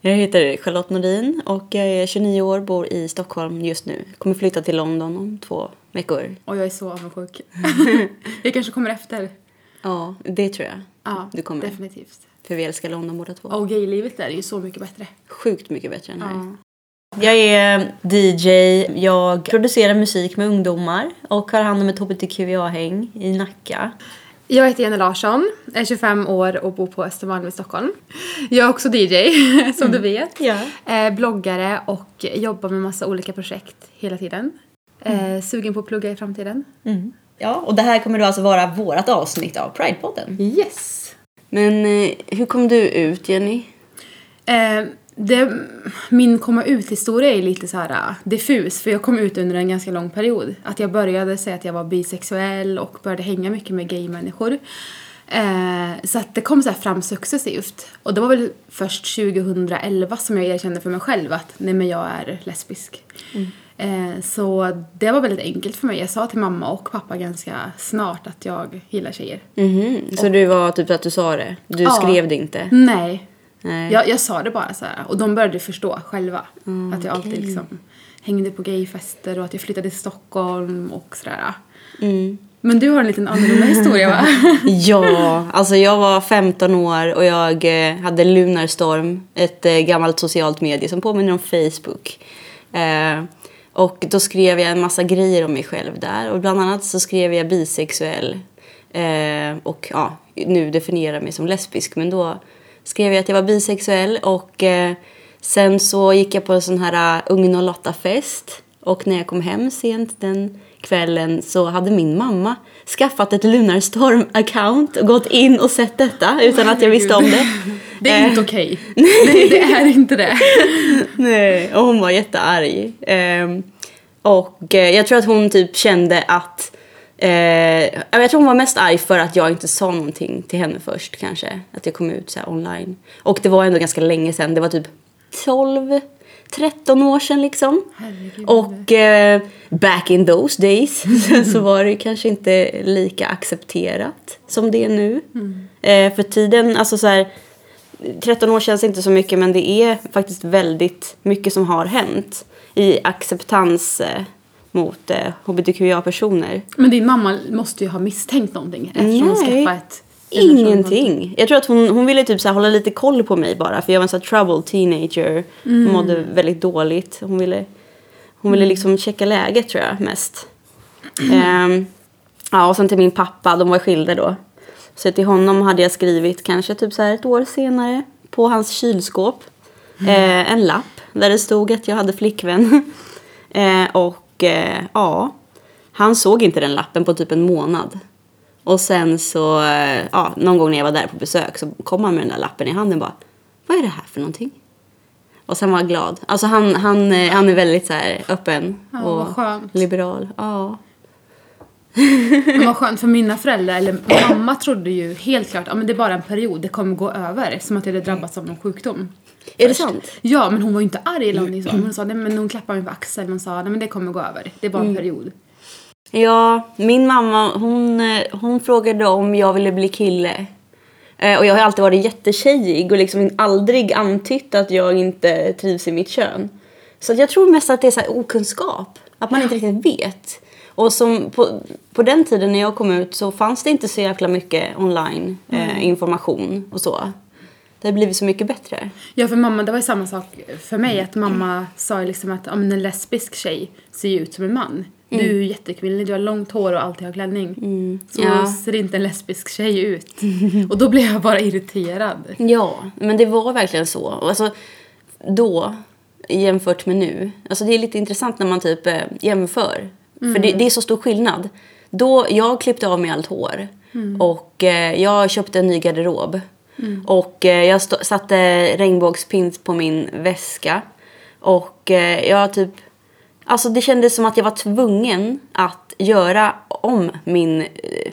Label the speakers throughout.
Speaker 1: Jag heter Charlotte Nordin och jag är 29 år, bor i Stockholm just nu. Kommer flytta till London om två veckor.
Speaker 2: Och jag är så avundsjuk. jag kanske kommer efter.
Speaker 1: Ja, det tror jag.
Speaker 2: Ja,
Speaker 1: Du kommer.
Speaker 2: definitivt.
Speaker 1: För vi älskar London båda två.
Speaker 2: Och gaylivet där är ju så mycket bättre.
Speaker 1: Sjukt mycket bättre än här.
Speaker 2: Ja.
Speaker 1: Jag är DJ, jag producerar musik med ungdomar och har hand om ett hbtqia-häng i Nacka.
Speaker 2: Jag heter Jenny Larsson, är 25 år och bor på Östermalm i Stocktom. Jag är också DJ, som du vet.
Speaker 1: Ja.
Speaker 2: Eh, bloggare och jobbar med massa olika projekt hela tiden. Eh, sugen på att plugga i framtiden.
Speaker 1: Mm. Ja, och det här kommer då alltså vara vårt avsnitt av Pridepodden.
Speaker 2: Yes!
Speaker 1: Men eh, hur kom du ut, Jenny?
Speaker 2: Eh, det, min komma ut-historia är lite så här eh, diffus för jag kom ut under en ganska lång period. Att jag började säga att jag var bisexuell och började hänga mycket med gay-människor. Eh, så att det kom så här fram successivt. Och det var väl först 2011 som jag erkände för mig själv att nej men jag är lesbisk. Eh, så det var väldigt enkelt för mig. Jag sa till mamma och pappa ganska snart att jag gillar tjejer.
Speaker 1: Mhm, Mm. Så du var typ så att du sa det? Du
Speaker 2: Ja.
Speaker 1: skrev det inte?
Speaker 2: Nej,
Speaker 1: Nej.
Speaker 2: Jag, jag sa det bara så här. och de började förstå själva. att jag alltid
Speaker 1: Mm, okej.
Speaker 2: liksom hängde på gayfester och att jag flyttade till Stockholm och sådär.
Speaker 1: Mm.
Speaker 2: Men du har en liten annorlunda historia va?
Speaker 1: Ja, alltså jag var 15 år och jag eh, hade Lunarstorm, ett eh, gammalt socialt medie som påminner om Facebook. Eh, och då skrev jag en massa grejer om mig själv där och bland annat så skrev jag bisexuell eh, och ja, nu definierar mig som lesbisk men då skrev jag att jag var bisexuell och eh, sen så gick jag på en sån här eh, Ung 08-fest och när jag kom hem sent den kvällen så hade min mamma skaffat ett Lunarstorm-account och gått in och sett detta utan att jag visste om det.
Speaker 2: Det är
Speaker 1: Eh,
Speaker 2: inte okej. Nej, det är inte det.
Speaker 1: Nej, och hon var jättearg. Ehm, och eh, jag tror att hon typ kände att... Eh, jag tror hon var mest arg för att jag inte sa någonting till henne först kanske. Att jag kom ut så här online. Och det var ändå ganska länge sedan. Det var typ 12, 13 år sedan liksom.
Speaker 2: Herregud.
Speaker 1: Och eh, back in those days så var det ju kanske inte lika accepterat som det är nu. Eh, för tiden, alltså så här, 13 år känns inte så mycket men det är faktiskt väldigt mycket som har hänt i acceptans eh, mot eh, hbtqia-personer.
Speaker 2: Men din mamma måste ju ha misstänkt någonting eftersom hon
Speaker 1: Nej.
Speaker 2: skaffade ett...
Speaker 1: Ingenting. Jag tror att hon, hon ville typ så här hålla lite koll på mig bara för jag var en sån här troubled teenager. Mm. Mådde väldigt dåligt. Hon ville, hon ville liksom checka läget tror jag mest. Ehm, ja och sen till min pappa, de var skilda då. Så till honom hade jag skrivit kanske typ så här ett år senare på hans kylskåp.
Speaker 2: Mm.
Speaker 1: eh, en lapp där det stod att jag hade flickvän. eh, och eh, ja, han såg inte den lappen på typ en månad. Och sen så, eh, ja, någon gång när jag var där på besök så kom han med den där lappen i handen och bara Vad är det här för någonting? Och sen var jag glad. Alltså han, han, eh, han är väldigt så här öppen
Speaker 2: Ja, vad
Speaker 1: och
Speaker 2: skönt.
Speaker 1: liberal. Ja.
Speaker 2: Men vad skönt för mina föräldrar, eller mamma trodde ju helt klart att men det är bara en period, det kommer gå över. Som att jag hade drabbats av någon sjukdom.
Speaker 1: Är det
Speaker 2: Först.
Speaker 1: sant?
Speaker 2: Ja, men hon var ju inte arg eller någonting så. Hon sa, nej men hon klappade mig på axeln och sa, nej men det kommer gå över. Det är bara en
Speaker 1: Mm.
Speaker 2: period.
Speaker 1: Ja, min mamma hon, eh, hon frågade om jag ville bli kille. Eh, Och jag har alltid varit jättetjejig och liksom aldrig antytt att jag inte trivs i mitt kön. Så att jag tror mest att det är så här okunskap, att man inte riktigt vet. Och som på, på den tiden när jag kom ut så fanns det inte så jäkla mycket online eh, information och så. Det har blivit så mycket bättre.
Speaker 2: Ja, för mamma, det var ju samma sak för mig. Att
Speaker 1: Mm.
Speaker 2: mamma sa ju liksom att, ja men en lesbisk tjej ser ju ut som en man. Du är
Speaker 1: Mm.
Speaker 2: ju jättekvinnlig, du har långt hår och alltid har klänning. Så
Speaker 1: ja.
Speaker 2: ser inte en lesbisk tjej ut. Och då blev jag bara irriterad.
Speaker 1: Ja, men det var verkligen så. Och alltså, då jämfört med nu. Alltså det är lite intressant när man typ eh, jämför. För det, det är så stor skillnad. Då, jag klippte av mig allt hår och eh, jag köpte en ny garderob. Och eh, jag st- satte regnbågspins på min väska. Och eh, jag typ... Alltså det kändes som att jag var tvungen att göra om min eh,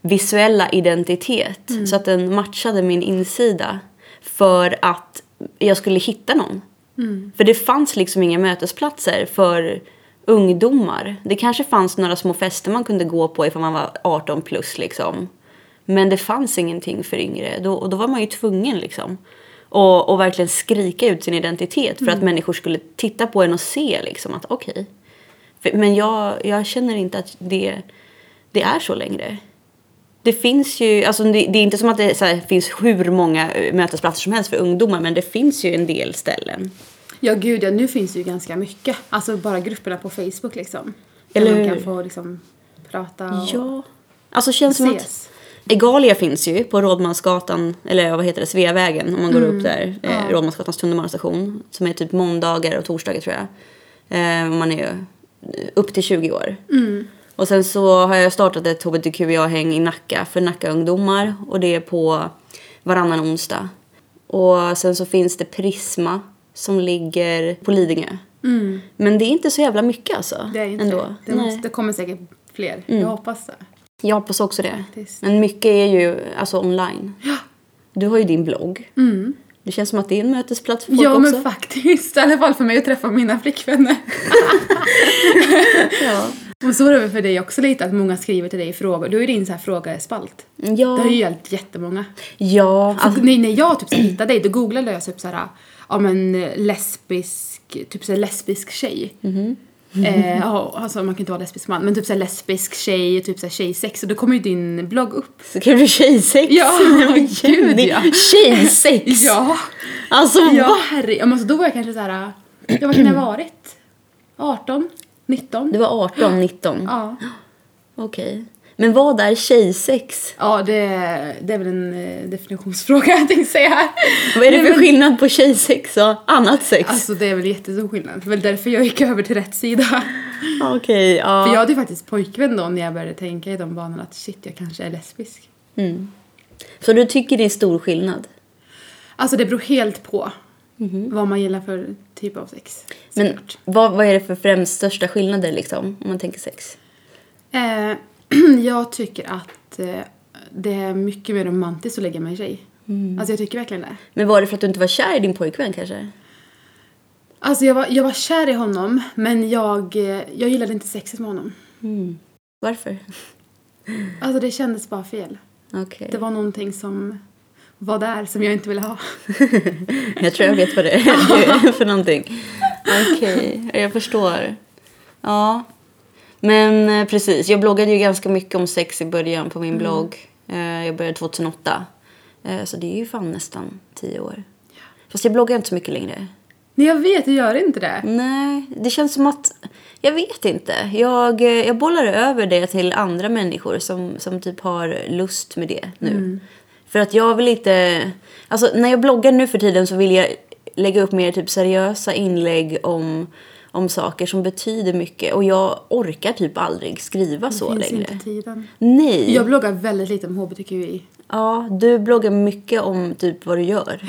Speaker 1: visuella identitet så att den matchade min insida för att jag skulle hitta någon. För det fanns liksom inga mötesplatser för ungdomar. Det kanske fanns några små fester man kunde gå på ifall man var 18 plus liksom. Men det fanns ingenting för yngre då, och då var man ju tvungen liksom. Och, och verkligen skrika ut sin identitet för att människor skulle titta på en och se liksom att okej. För- Men jag, jag känner inte att det, det är så längre. Det finns ju, alltså det, det är inte som att det så här, finns hur många eh, mötesplatser som helst för ungdomar men det finns ju en del ställen.
Speaker 2: Ja gud ja, nu finns det ju ganska mycket. Alltså bara grupperna på Facebook liksom.
Speaker 1: Eller
Speaker 2: Eller man
Speaker 1: hur?
Speaker 2: kan få liksom prata och...
Speaker 1: Ja. Alltså känns som att
Speaker 2: Ses.
Speaker 1: Egalia finns ju på Rådmansgatan, eller vad heter det, Sveavägen om man går
Speaker 2: Mm.
Speaker 1: upp där. Eh, Rådmansgatans tunnelbanestation som är typ måndagar och torsdagar tror jag. Eh, om man är eh, upp till 20 år.
Speaker 2: Mm.
Speaker 1: Och sen så har jag startat ett hbtqia-häng i Nacka för Nacka-ungdomar och det är på varannan onsdag. Och sen så finns det Prisma som ligger på Lidingö. Men det är inte så jävla mycket alltså.
Speaker 2: Mm. Det är inte
Speaker 1: ändå.
Speaker 2: det. Det,
Speaker 1: Nej. Mm.
Speaker 2: måste, det kommer säkert fler. Jag hoppas det.
Speaker 1: Jag hoppas också det.
Speaker 2: Faktiskt.
Speaker 1: Men mycket är ju alltså, online. Du har ju din blogg. Det känns som att det är en mötesplats för folk
Speaker 2: Mm. ja
Speaker 1: också.
Speaker 2: men faktiskt. I alla fall för mig att träffa mina flickvänner.
Speaker 1: ja.
Speaker 2: och så är det väl för dig också lite att många skriver till dig frågor. Du har ju din så här frågespalt. Det
Speaker 1: Mm, Ja,
Speaker 2: har ju hjälpt jättemånga.
Speaker 1: ja.
Speaker 2: Så,
Speaker 1: Alltså,
Speaker 2: nej, när jag typ så hittade dig då googlade jag typ såhär, ja men eh, lesbisk, typ såhär lesbisk tjej.
Speaker 1: Mhm.
Speaker 2: Eh, ja, alltså man kan inte vara lesbisk man, men typ såhär lesbisk tjej, typ såhär tjejsex och då kommer ju din blogg upp.
Speaker 1: skrev du tjejsex?
Speaker 2: Ja,
Speaker 1: Nej, men
Speaker 2: gud,
Speaker 1: det-
Speaker 2: ja.
Speaker 1: Tjejsex!
Speaker 2: Ja!
Speaker 1: Alltså
Speaker 2: Ja
Speaker 1: va?
Speaker 2: herre, ja, men alltså, då var jag kanske såhär, ja vad kan jag ha varit? 18? 19?
Speaker 1: Du var 18, 19.
Speaker 2: Ja.
Speaker 1: Okej. Men vad är tjejsex?
Speaker 2: Ja det, det är väl en eh, definitionsfråga jag tänkte säga här.
Speaker 1: Vad är det
Speaker 2: Nej,
Speaker 1: för
Speaker 2: men-
Speaker 1: skillnad på tjejsex och annat sex?
Speaker 2: Alltså det är väl jättestor skillnad, det är väl därför jag gick över till rätt sida.
Speaker 1: Okej, ja.
Speaker 2: För jag hade ju faktiskt pojkvän då när jag började tänka i de banorna att shit, jag kanske är lesbisk.
Speaker 1: Så du tycker det är stor skillnad?
Speaker 2: Alltså det beror helt på vad man gillar för typ av sex.
Speaker 1: Mhm. Men
Speaker 2: såklart.
Speaker 1: vad, vad är det för främst största skillnader liksom, om man tänker sex?
Speaker 2: Eh, jag tycker att eh, det är mycket mer romantiskt att lägga med en tjej.
Speaker 1: Mm.
Speaker 2: Alltså jag tycker verkligen det.
Speaker 1: Men var det för att du inte var kär i din pojkvän kanske?
Speaker 2: Alltså jag var, jag var kär i honom men jag, eh, jag gillade inte sexet med honom.
Speaker 1: Varför?
Speaker 2: Alltså det kändes bara fel.
Speaker 1: Okej.
Speaker 2: Det var någonting som var där som jag inte ville ha.
Speaker 1: Jag tror jag vet vad det är för någonting. Okej, jag förstår. Ja. Men eh, precis, jag bloggade ju ganska mycket om sex i början på min blogg. Eh, Jag började 2008. Eh, Så det är ju fan nästan tio år. Fast jag bloggar inte så mycket längre.
Speaker 2: Nej jag vet, jag gör inte det.
Speaker 1: Nej, det känns som att... Jag vet inte. Jag, eh, jag bollar över det till andra människor som, som typ har lust med det nu.
Speaker 2: Mm.
Speaker 1: För att jag vill inte... Alltså när jag bloggar nu för tiden så vill jag lägga upp mer typ seriösa inlägg om, om saker som betyder mycket. Och jag orkar typ aldrig skriva så Mm.
Speaker 2: Finns
Speaker 1: längre.
Speaker 2: inte tiden.
Speaker 1: Nej!
Speaker 2: Jag bloggar väldigt lite om hbtqi.
Speaker 1: Ja, du bloggar mycket om typ vad du gör.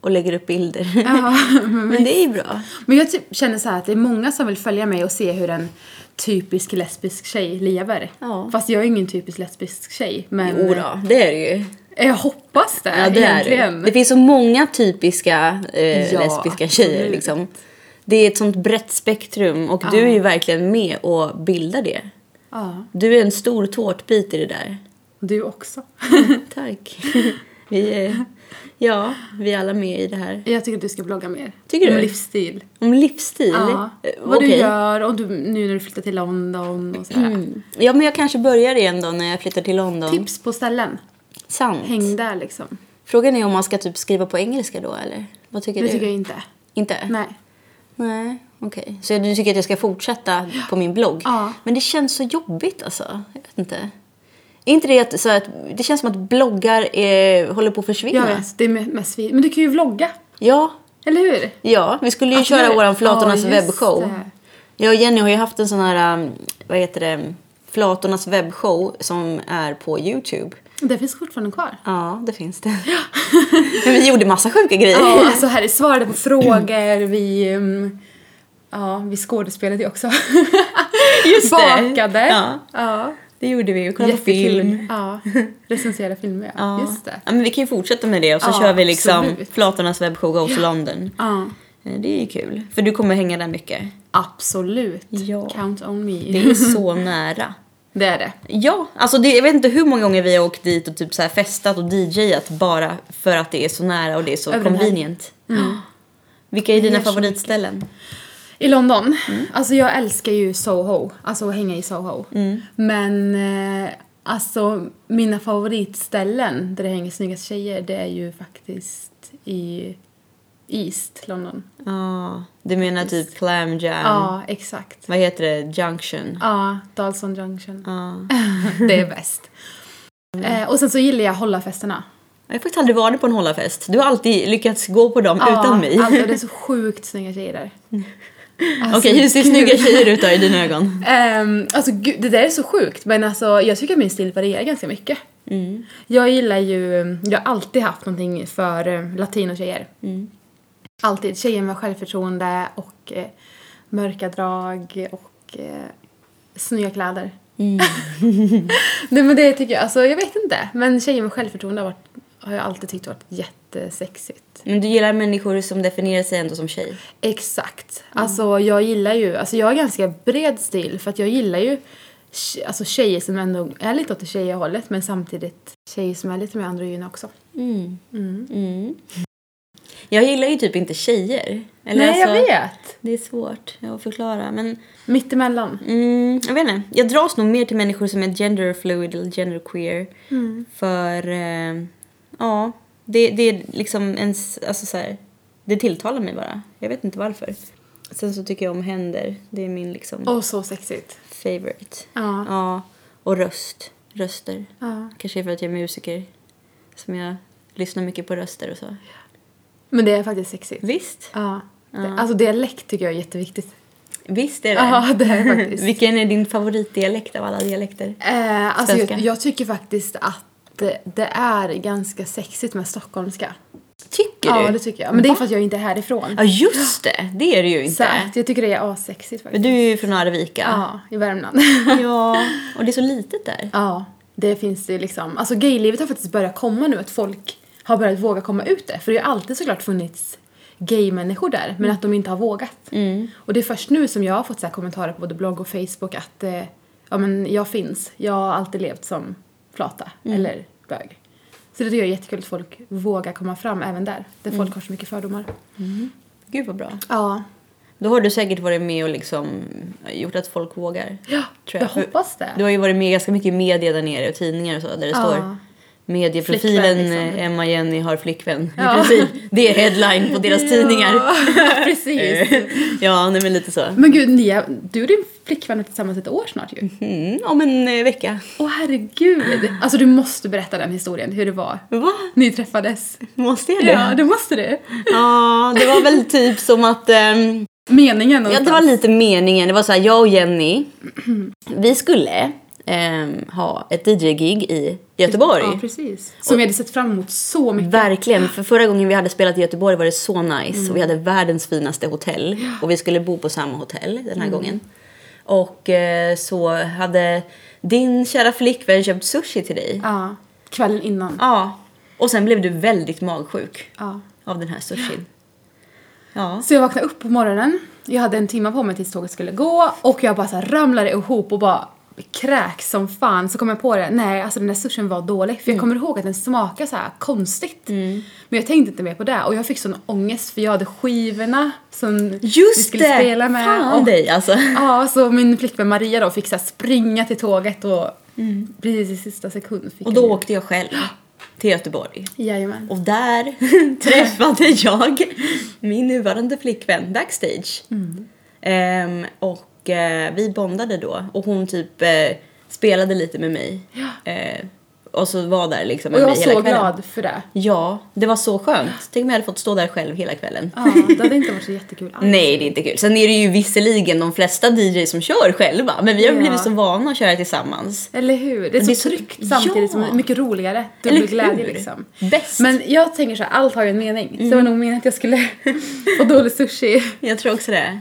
Speaker 1: Och lägger upp bilder.
Speaker 2: Ja, men
Speaker 1: Men det är ju bra.
Speaker 2: Men jag typ känner så här att det är många som vill följa mig och se hur en typisk lesbisk tjej lever.
Speaker 1: Ja.
Speaker 2: Fast jag är ingen typisk lesbisk tjej. Men
Speaker 1: Jo då, det är det ju.
Speaker 2: Eh, jag hoppas det,
Speaker 1: Ja, det, är det.
Speaker 2: egentligen.
Speaker 1: det finns så många typiska eh,
Speaker 2: Ja,
Speaker 1: lesbiska tjejer.
Speaker 2: absolut.
Speaker 1: Liksom. Det är ett sånt brett spektrum och du är ju verkligen med och bildar det.
Speaker 2: Ja,
Speaker 1: Du är en stor tårtbit i det där.
Speaker 2: du också.
Speaker 1: Tack. vi är, ja, vi är alla med i det här.
Speaker 2: jag tycker att du ska blogga mer.
Speaker 1: Tycker du?
Speaker 2: Om livsstil.
Speaker 1: Om livsstil?
Speaker 2: Ja.
Speaker 1: Eh,
Speaker 2: Vad du
Speaker 1: okej. Mm.
Speaker 2: gör och du, nu när du flyttar till London och sådär.
Speaker 1: Ja, men jag kanske börjar igen då när jag flyttar till London.
Speaker 2: Tips på ställen.
Speaker 1: Sant.
Speaker 2: Häng där liksom.
Speaker 1: Frågan är om man ska typ skriva på engelska då eller? Vad tycker
Speaker 2: Det
Speaker 1: du?
Speaker 2: tycker jag inte.
Speaker 1: Inte?
Speaker 2: Nej.
Speaker 1: Nej, okej. Så du tycker att jag ska fortsätta på min blogg?
Speaker 2: Ja.
Speaker 1: Men det känns så jobbigt alltså. Jag vet inte. Är inte det att, så att det känns som att bloggar eh, håller på att
Speaker 2: Jag
Speaker 1: försvinna?
Speaker 2: vet, det är mest vi. Men du kan ju vlogga.
Speaker 1: Ja.
Speaker 2: Eller hur?
Speaker 1: Ja, vi skulle ju
Speaker 2: Att
Speaker 1: köra
Speaker 2: göra-
Speaker 1: våran Flatornas
Speaker 2: Ja, just
Speaker 1: webbshow.
Speaker 2: det.
Speaker 1: Jag och Jenny har ju haft en sån här, um, vad heter det, Flatornas webbshow som är på Youtube.
Speaker 2: Det finns fortfarande kvar.
Speaker 1: Ja, det finns det. Men vi gjorde massa sjuka grejer.
Speaker 2: Ja, alltså här är svarade på frågor, vi... mm, ja, vi skådespelade ju också.
Speaker 1: Just det.
Speaker 2: Bakade.
Speaker 1: Ja.
Speaker 2: ja.
Speaker 1: Det gjorde vi ju, kollade på
Speaker 2: Jättekul.
Speaker 1: film.
Speaker 2: Ja. Recenserade filmer, ja.
Speaker 1: Ja.
Speaker 2: Just det.
Speaker 1: Ja, men vi kan ju fortsätta med det och så
Speaker 2: Ja,
Speaker 1: kör vi liksom
Speaker 2: absolut.
Speaker 1: Flatornas webbshow Goes to London.
Speaker 2: Ja.
Speaker 1: Eh, Det är ju kul, för du kommer hänga där mycket.
Speaker 2: Absolut.
Speaker 1: Ja.
Speaker 2: Count on me.
Speaker 1: Det är så nära.
Speaker 2: Det är det.
Speaker 1: Ja, alltså det, jag vet inte hur många gånger vi har åkt dit och typ så här festat och DJat bara för att det är så nära och det är så
Speaker 2: Över den här.
Speaker 1: convenient. Vilka är dina
Speaker 2: Mm. gör så
Speaker 1: favoritställen?
Speaker 2: I London,
Speaker 1: Mm.
Speaker 2: alltså jag älskar ju Soho, alltså att hänga i Soho.
Speaker 1: Mm.
Speaker 2: Men eh, alltså mina favoritställen där det hänger snyggast tjejer det är ju faktiskt i East London.
Speaker 1: Ja, du menar typ Clam Jam?
Speaker 2: Ja, exakt.
Speaker 1: Vad heter det? Junction?
Speaker 2: Ja, Dalston Junction.
Speaker 1: Ja. Mm.
Speaker 2: det är bäst. Eh, och sen så gillar jag hållafesterna.
Speaker 1: Jag har faktiskt aldrig varit på en hållarfest. Du har alltid lyckats gå på dem
Speaker 2: Ja,
Speaker 1: utan mig. Mm.
Speaker 2: Alltså det är så sjukt snygga tjejer där. Alltså,
Speaker 1: Okej, hur ser
Speaker 2: gud.
Speaker 1: snygga tjejer ut då i dina ögon?
Speaker 2: Ehm, alltså gud, det där är så sjukt men alltså jag tycker att min stil varierar ganska mycket. Mm. Jag gillar ju, jag har alltid haft någonting för eh, latinotjejer. Alltid. Tjejer med självförtroende och eh, mörka drag och eh, snygga kläder. Nej men det tycker jag, alltså jag vet inte. Men tjejer med självförtroende har, varit, har jag alltid tyckt varit jättesexigt.
Speaker 1: Men du gillar människor som definierar sig ändå som tjej?
Speaker 2: Exakt. Alltså jag gillar ju, alltså jag har ganska bred stil för att jag gillar ju tje- alltså tjejer som ändå är lite åt det tjejiga hållet men samtidigt tjejer som är lite mer androgyna också.
Speaker 1: Mm. Jag gillar ju typ inte tjejer. Eller alltså,
Speaker 2: vet!
Speaker 1: Det är svårt att förklara men
Speaker 2: Mittemellan.
Speaker 1: mm, jag vet inte. Jag dras nog mer till människor som är genderfluid eller genderqueer. Mm. För eh, ja, det, det är liksom en, s- alltså så här, det tilltalar mig bara. Jag vet inte varför. Sen så tycker jag om händer. Det är min liksom
Speaker 2: Och så sexigt.
Speaker 1: favorite.
Speaker 2: Ja.
Speaker 1: Ja, och röst. Röster.
Speaker 2: ja.
Speaker 1: Kanske för att jag är musiker. Som jag lyssnar mycket på röster och så.
Speaker 2: Men det är faktiskt sexigt.
Speaker 1: Visst.
Speaker 2: Ja. Det, alltså dialekt tycker jag är jätteviktigt.
Speaker 1: Visst är det.
Speaker 2: Ja, det är faktiskt.
Speaker 1: Vilken är din favoritdialekt av alla dialekter?
Speaker 2: Eh, alltså jag,
Speaker 1: Svenska.
Speaker 2: jag tycker faktiskt att det- det är ganska sexigt med stockholmska.
Speaker 1: Tycker du?
Speaker 2: Ja, det tycker jag. Men det är för att jag inte är härifrån.
Speaker 1: Ja, just det. Det är du ju inte.
Speaker 2: Så att jag tycker det är assexigt
Speaker 1: Men
Speaker 2: faktiskt.
Speaker 1: du är ju från Arvika.
Speaker 2: Ja, i Värmland.
Speaker 1: ja. Och det är så litet där.
Speaker 2: Ja, det finns det liksom. Alltså gaylivet har faktiskt börjat komma nu, att folk har börjat våga komma ut där. För det har ju alltid såklart funnits gay-människor där, men att de inte har vågat.
Speaker 1: Mm.
Speaker 2: Och det är först nu som jag har fått så här kommentarer på både blogg och Facebook att eh, ja men jag finns, jag har alltid levt som flata eller bög. Så det tycker jag är jättekul att folk vågar komma fram även där, där folk har så mycket fördomar.
Speaker 1: Gud vad bra.
Speaker 2: Mm. Ja,
Speaker 1: Då har du säkert varit med och liksom gjort att folk vågar.
Speaker 2: ja
Speaker 1: tror
Speaker 2: jag
Speaker 1: jag. För
Speaker 2: hoppas det.
Speaker 1: Du har ju varit med ganska mycket i media där nere och tidningar och så där det står medieprofilen
Speaker 2: Flickvän, liksom.
Speaker 1: eh, Emma Jenny har flickvän.
Speaker 2: Ja.
Speaker 1: I princip. Det är headline på deras tidningar.
Speaker 2: Ja, precis.
Speaker 1: ja, nej men lite så.
Speaker 2: Men gud, ni är, du och din flickvän är tillsammans ett år snart ju.
Speaker 1: Mm, om en eh, vecka.
Speaker 2: Åh herregud!
Speaker 1: Ah.
Speaker 2: Alltså du måste berätta den historien, hur det var.
Speaker 1: Va?
Speaker 2: Ni träffades.
Speaker 1: Måste jag det?
Speaker 2: Ja,
Speaker 1: Ja,
Speaker 2: det måste du.
Speaker 1: det var väl typ som att... ehm,
Speaker 2: Meningen
Speaker 1: Ja, det var lite meningen. Det var så här, jag och Jenny, vi skulle ehm, ha ett DJ-gig i Göteborg.
Speaker 2: Ja, precis. Som jag hade sett fram emot så mycket.
Speaker 1: Verkligen, för förra gången vi hade spelat i Göteborg var det så nice
Speaker 2: Mm.
Speaker 1: och vi hade världens finaste hotell och vi skulle bo på samma hotell den här
Speaker 2: Mm.
Speaker 1: gången. Och eh, så hade din kära flickvän köpt sushi till dig.
Speaker 2: Ja, kvällen innan.
Speaker 1: Ja. Och sen blev du väldigt magsjuk
Speaker 2: Ja.
Speaker 1: av den här sushin. Ja.
Speaker 2: Så jag vaknade upp på morgonen, jag hade en timme på mig tills tåget skulle gå och jag bara så här ramlade ihop och bara kräks som fan. Så kom jag på det, nej alltså den där sushin var dålig.
Speaker 1: Mm.
Speaker 2: För jag kommer ihåg att den smakade så här konstigt. Men jag tänkte inte mer på det och jag fick sån ångest för jag hade skivorna som vi
Speaker 1: Just
Speaker 2: skulle
Speaker 1: det!
Speaker 2: spela med.
Speaker 1: Fan
Speaker 2: och,
Speaker 1: dig alltså.
Speaker 2: Ja, så min flickvän Maria då fick så här springa till tåget och precis i sista sekund fick
Speaker 1: Mm. Och
Speaker 2: jag-
Speaker 1: då åkte jag själv till Göteborg.
Speaker 2: Jajamän.
Speaker 1: Och där träffade jag min nuvarande flickvän backstage.
Speaker 2: Mm.
Speaker 1: Ehm, och eh, vi bondade då och hon typ eh, spelade lite med mig. Eh, och så var där liksom med
Speaker 2: Och jag var
Speaker 1: mig hela
Speaker 2: så
Speaker 1: kvällen.
Speaker 2: glad för det.
Speaker 1: Ja, det var så skönt. Tänk om jag hade fått stå där själv hela kvällen.
Speaker 2: Ja, det hade inte varit så jättekul alls.
Speaker 1: Nej, det är inte kul. Sen är det ju visserligen de flesta DJs som kör själva, men vi har
Speaker 2: Ja.
Speaker 1: blivit så vana att köra tillsammans.
Speaker 2: Eller hur? Det är så
Speaker 1: Det är så-
Speaker 2: tryggt samtidigt som det
Speaker 1: Ja.
Speaker 2: är mycket roligare. Dubbel
Speaker 1: Eller
Speaker 2: glädje
Speaker 1: hur?
Speaker 2: liksom.
Speaker 1: Bäst. Mm.
Speaker 2: Men jag tänker så här, allt har ju en mening. Så det var nog meningen att jag skulle få dålig sushi.
Speaker 1: Jag tror också det.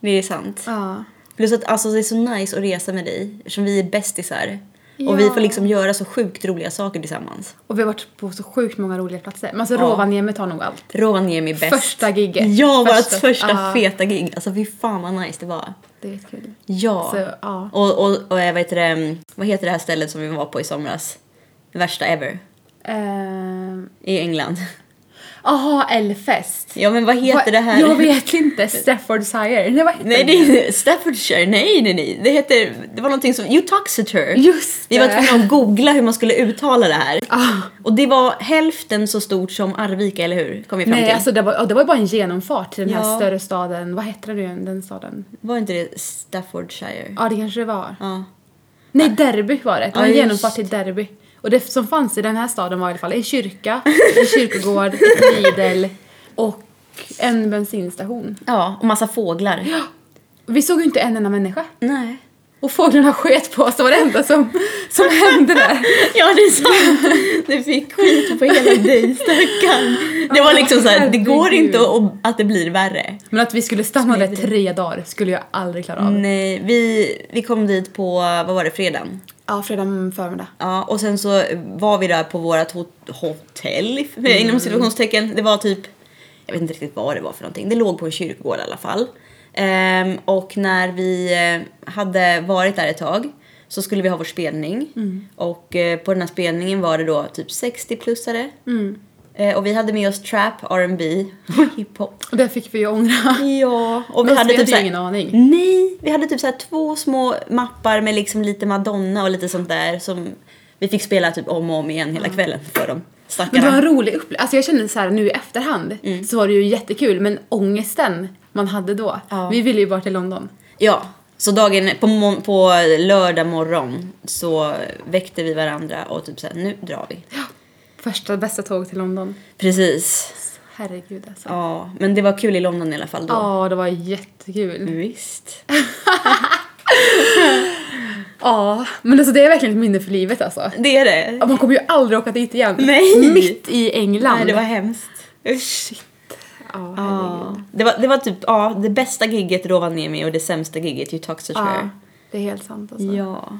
Speaker 1: Det är sant.
Speaker 2: Ja.
Speaker 1: Plus att alltså, det är så nice att resa med dig eftersom vi är bästisar.
Speaker 2: Ja.
Speaker 1: Och vi får liksom göra så sjukt roliga saker tillsammans.
Speaker 2: Och vi har varit på så sjukt många roliga platser. Men alltså Rovaniemi tar nog allt.
Speaker 1: Rovaniemi bäst.
Speaker 2: Första gigget.
Speaker 1: Ja,
Speaker 2: Första-
Speaker 1: vårt första
Speaker 2: ja.
Speaker 1: feta gig. Alltså fy fan vad nice det var.
Speaker 2: Det är kul.
Speaker 1: Ja.
Speaker 2: Så, ja.
Speaker 1: Och, och, och eh, vad, heter det, vad heter det här stället som vi var på i somras? Det värsta ever.
Speaker 2: Ehm,
Speaker 1: I England.
Speaker 2: Aha, Elfest.
Speaker 1: Ja men vad heter
Speaker 2: Va-
Speaker 1: det här?
Speaker 2: Jag vet inte. Staffordshire. Nej, vad heter
Speaker 1: Nej det är Staffordshire, nej nej nej. Det heter, det var någonting som, Utoxeter.
Speaker 2: Just
Speaker 1: Vi var
Speaker 2: det.
Speaker 1: tvungna att googla hur man skulle uttala det här.
Speaker 2: Ah.
Speaker 1: Och det var hälften så stort som Arvika, eller hur? Kom vi fram
Speaker 2: Nej,
Speaker 1: till.
Speaker 2: alltså det var, ja, det var ju bara en genomfart till den här
Speaker 1: Ja.
Speaker 2: större staden. Vad hette det nu, den staden?
Speaker 1: Var inte det Staffordshire?
Speaker 2: Ja, det kanske det var.
Speaker 1: Ja.
Speaker 2: Nej, Derby var det. Det var
Speaker 1: Ja,
Speaker 2: en
Speaker 1: just.
Speaker 2: genomfart till Derby. Och det som fanns i den här staden var i alla fall en kyrka, en kyrkogård, ett bidel och en bensinstation.
Speaker 1: Ja, och massa fåglar.
Speaker 2: Vi såg ju inte en enda människa.
Speaker 1: Nej.
Speaker 2: Och fåglarna sket på oss, det var det enda som, som hände där.
Speaker 1: Ja, det är sant. Det fick skit på hela dig, stackarn. Det var liksom så här, det går
Speaker 2: Herregud.
Speaker 1: inte att, att det blir värre.
Speaker 2: Men att vi skulle stanna där tre dagar skulle jag aldrig klara av.
Speaker 1: Nej, vi, vi kom dit på, vad var det, fredagen?
Speaker 2: Ja, fredag förmiddag.
Speaker 1: Ja, och sen så var vi där på vårat hot- hotell, inom situationstecken. Det var typ, jag vet inte riktigt vad det var för någonting. Det låg på en kyrkogård i alla fall. Ehm, och när vi eh, hade varit där ett tag så skulle vi ha vår spelning. Och eh, på den här spelningen var det då typ 60-plussare. Eh, och vi hade med oss trap, R&B och hiphop.
Speaker 2: Och det fick vi ju ångra.
Speaker 1: Ja, och vi
Speaker 2: Fast
Speaker 1: hade
Speaker 2: vi
Speaker 1: typ
Speaker 2: hade ju
Speaker 1: såhär,
Speaker 2: ingen aning.
Speaker 1: Nej, vi hade typ så två små mappar med liksom lite Madonna och lite sånt där som vi fick spela typ om och om igen hela kvällen för dem.
Speaker 2: Men det var
Speaker 1: Stackarna.
Speaker 2: en rolig upplevelse. Alltså jag kände så här nu i efterhand
Speaker 1: Mm.
Speaker 2: så var det ju jättekul men ångesten man hade då.
Speaker 1: Ja.
Speaker 2: Vi ville ju bara till London.
Speaker 1: Ja, så dagen på, må- på lördag morgon så väckte vi varandra och typ så nu drar vi.
Speaker 2: Första bästa tåg till London.
Speaker 1: Precis.
Speaker 2: Herregud alltså. Ja,
Speaker 1: Ja, men det var kul i London i alla fall då.
Speaker 2: det var
Speaker 1: Mm.
Speaker 2: jättekul.
Speaker 1: Visst.
Speaker 2: Ja, men alltså det är verkligen ett minne för livet alltså.
Speaker 1: Det är det.
Speaker 2: Ja, Man kommer ju aldrig åka dit igen.
Speaker 1: Nej.
Speaker 2: Mitt i England.
Speaker 1: Nej, det var hemskt. Usch.
Speaker 2: Ja, herregud.
Speaker 1: Ja. Det, var, det var typ ja, det bästa gigget Rovaniemi och det sämsta gigget
Speaker 2: Ja,
Speaker 1: Utoxeter.
Speaker 2: det är helt sant alltså.
Speaker 1: Ah. Ja.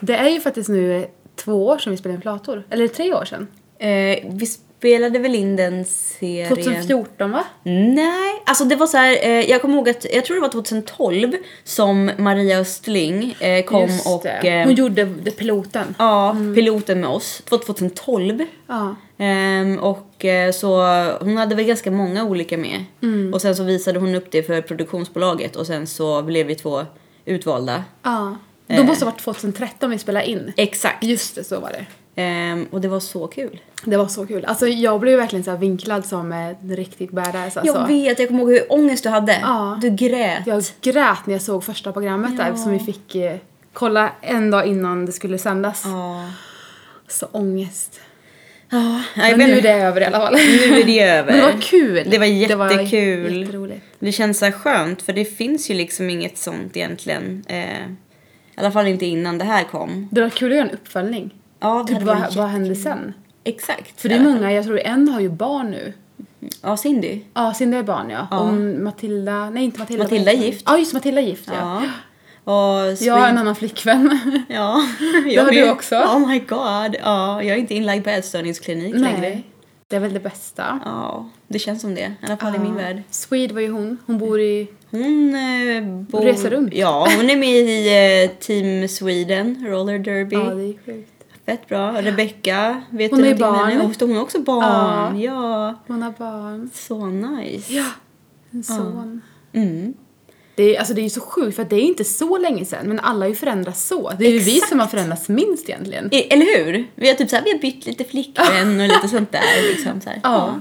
Speaker 2: Det är ju faktiskt nu två år sedan vi spelade in Flator. Eller tre år sedan.
Speaker 1: Eh, vi spelade väl in den serien...
Speaker 2: 2014 va?
Speaker 1: Nej, alltså det var så här, eh, jag kommer ihåg att jag tror det var 2012 som Maria Östling eh, kom
Speaker 2: Just
Speaker 1: och...
Speaker 2: det.
Speaker 1: eh,
Speaker 2: Hon gjorde det- piloten.
Speaker 1: Ja, piloten med oss. Det var 2012.
Speaker 2: Ja.
Speaker 1: Ehm, och eh, så hon hade väl ganska många olika med. Och sen så visade hon upp det för produktionsbolaget och sen så blev vi två utvalda.
Speaker 2: Ja. Då
Speaker 1: Eh.
Speaker 2: måste det ha varit 2013 vi spelade in.
Speaker 1: Exakt.
Speaker 2: Just det, så var det.
Speaker 1: Ehm, och det var så kul.
Speaker 2: Det var så kul. Alltså jag blev ju verkligen så här vinklad som en riktig badass alltså.
Speaker 1: Jag vet, jag kommer ihåg hur ångest du hade.
Speaker 2: Ja.
Speaker 1: Du grät.
Speaker 2: Jag grät när jag såg första programmet där som vi fick eh, kolla en dag innan det skulle sändas.
Speaker 1: Ja.
Speaker 2: Så ångest.
Speaker 1: Ja,
Speaker 2: Men
Speaker 1: jag vet
Speaker 2: nu är
Speaker 1: inte.
Speaker 2: det över i alla fall.
Speaker 1: Nu är det över.
Speaker 2: Men det var kul.
Speaker 1: Det var
Speaker 2: Det var
Speaker 1: jättekul.
Speaker 2: jätteroligt.
Speaker 1: Det känns så här skönt för det finns ju liksom inget sånt egentligen. Eh, I alla fall inte innan det här kom.
Speaker 2: Det var kul att göra en uppföljning.
Speaker 1: Ja, det
Speaker 2: Typ
Speaker 1: hade
Speaker 2: vad,
Speaker 1: varit
Speaker 2: vad
Speaker 1: jätte-
Speaker 2: hände sen?
Speaker 1: Exakt.
Speaker 2: För det är många, jag tror en har ju barn nu.
Speaker 1: Ja, Cindy.
Speaker 2: Ja, Cindy har barn ja. Och Matilda, nej inte Matilda.
Speaker 1: Matilda är gift.
Speaker 2: Ja just Matilda är gift ja.
Speaker 1: Ja. Och
Speaker 2: Jag har en
Speaker 1: Sweden.
Speaker 2: annan flickvän.
Speaker 1: Ja,
Speaker 2: Det har
Speaker 1: med.
Speaker 2: du också.
Speaker 1: Oh my god. Ja, jag är inte inlagd på ätstörningsklinik längre.
Speaker 2: Nej. Det är väl det bästa.
Speaker 1: Ja, det känns som det. I alla fall i
Speaker 2: Ah.
Speaker 1: min värld.
Speaker 2: Swede var ju hon. Hon bor i...
Speaker 1: Hon eh, bor...
Speaker 2: reser runt.
Speaker 1: Ja, hon är med i eh, Team Sweden, roller derby.
Speaker 2: Ja, det är sjukt.
Speaker 1: Fett bra. Rebecca, vet
Speaker 2: Hon
Speaker 1: du
Speaker 2: är
Speaker 1: någonting om henne?
Speaker 2: barn.
Speaker 1: Hon- Hon är också barn. Ja.
Speaker 2: Hon har barn.
Speaker 1: Så nice.
Speaker 2: Ja. En son.
Speaker 1: Mm.
Speaker 2: Det är, alltså det är ju så sjukt för att det är inte så länge sedan men alla har ju förändrats så. Det är ju vi
Speaker 1: Exakt.
Speaker 2: som har förändrats minst egentligen.
Speaker 1: E- Eller hur? Vi har typ så här, vi har bytt lite flickvän och lite sånt där liksom så här.
Speaker 2: Ja.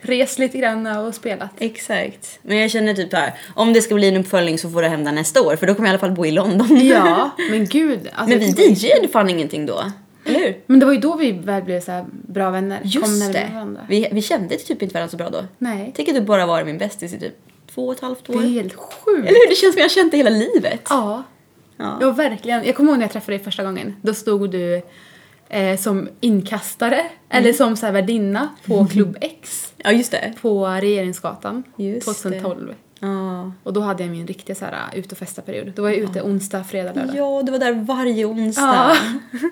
Speaker 2: Rest lite grann och spelat.
Speaker 1: Exakt. Men jag känner typ här, om det ska bli en uppföljning så får det hända nästa år för då kommer jag i alla fall bo i London.
Speaker 2: Ja, men gud. Alltså,
Speaker 1: Men vi DJade fan ingenting då. Eller hur?
Speaker 2: Men det var ju då vi väl blev så här bra vänner. kom
Speaker 1: Just
Speaker 2: närmare
Speaker 1: det.
Speaker 2: varandra.
Speaker 1: Vi, vi kände typ inte varandra så bra då.
Speaker 2: Nej.
Speaker 1: Tänk att du bara var min bästis i typ två och ett halvt år.
Speaker 2: Det är helt sjukt.
Speaker 1: Eller hur? Det känns som jag har känt det hela livet.
Speaker 2: Ja.
Speaker 1: Ja.
Speaker 2: Ja, verkligen. Jag kommer ihåg när jag träffade dig första gången. Då stod du eh, som inkastare eller som så här värdinna på Klubb X
Speaker 1: Ja, just det.
Speaker 2: på Regeringsgatan
Speaker 1: Just
Speaker 2: 2012.
Speaker 1: Ja.
Speaker 2: Och då hade jag min riktiga så här, eh, ut och festa-period. Då var jag ute onsdag, fredag, lördag.
Speaker 1: ja, du var där varje onsdag.
Speaker 2: Ja.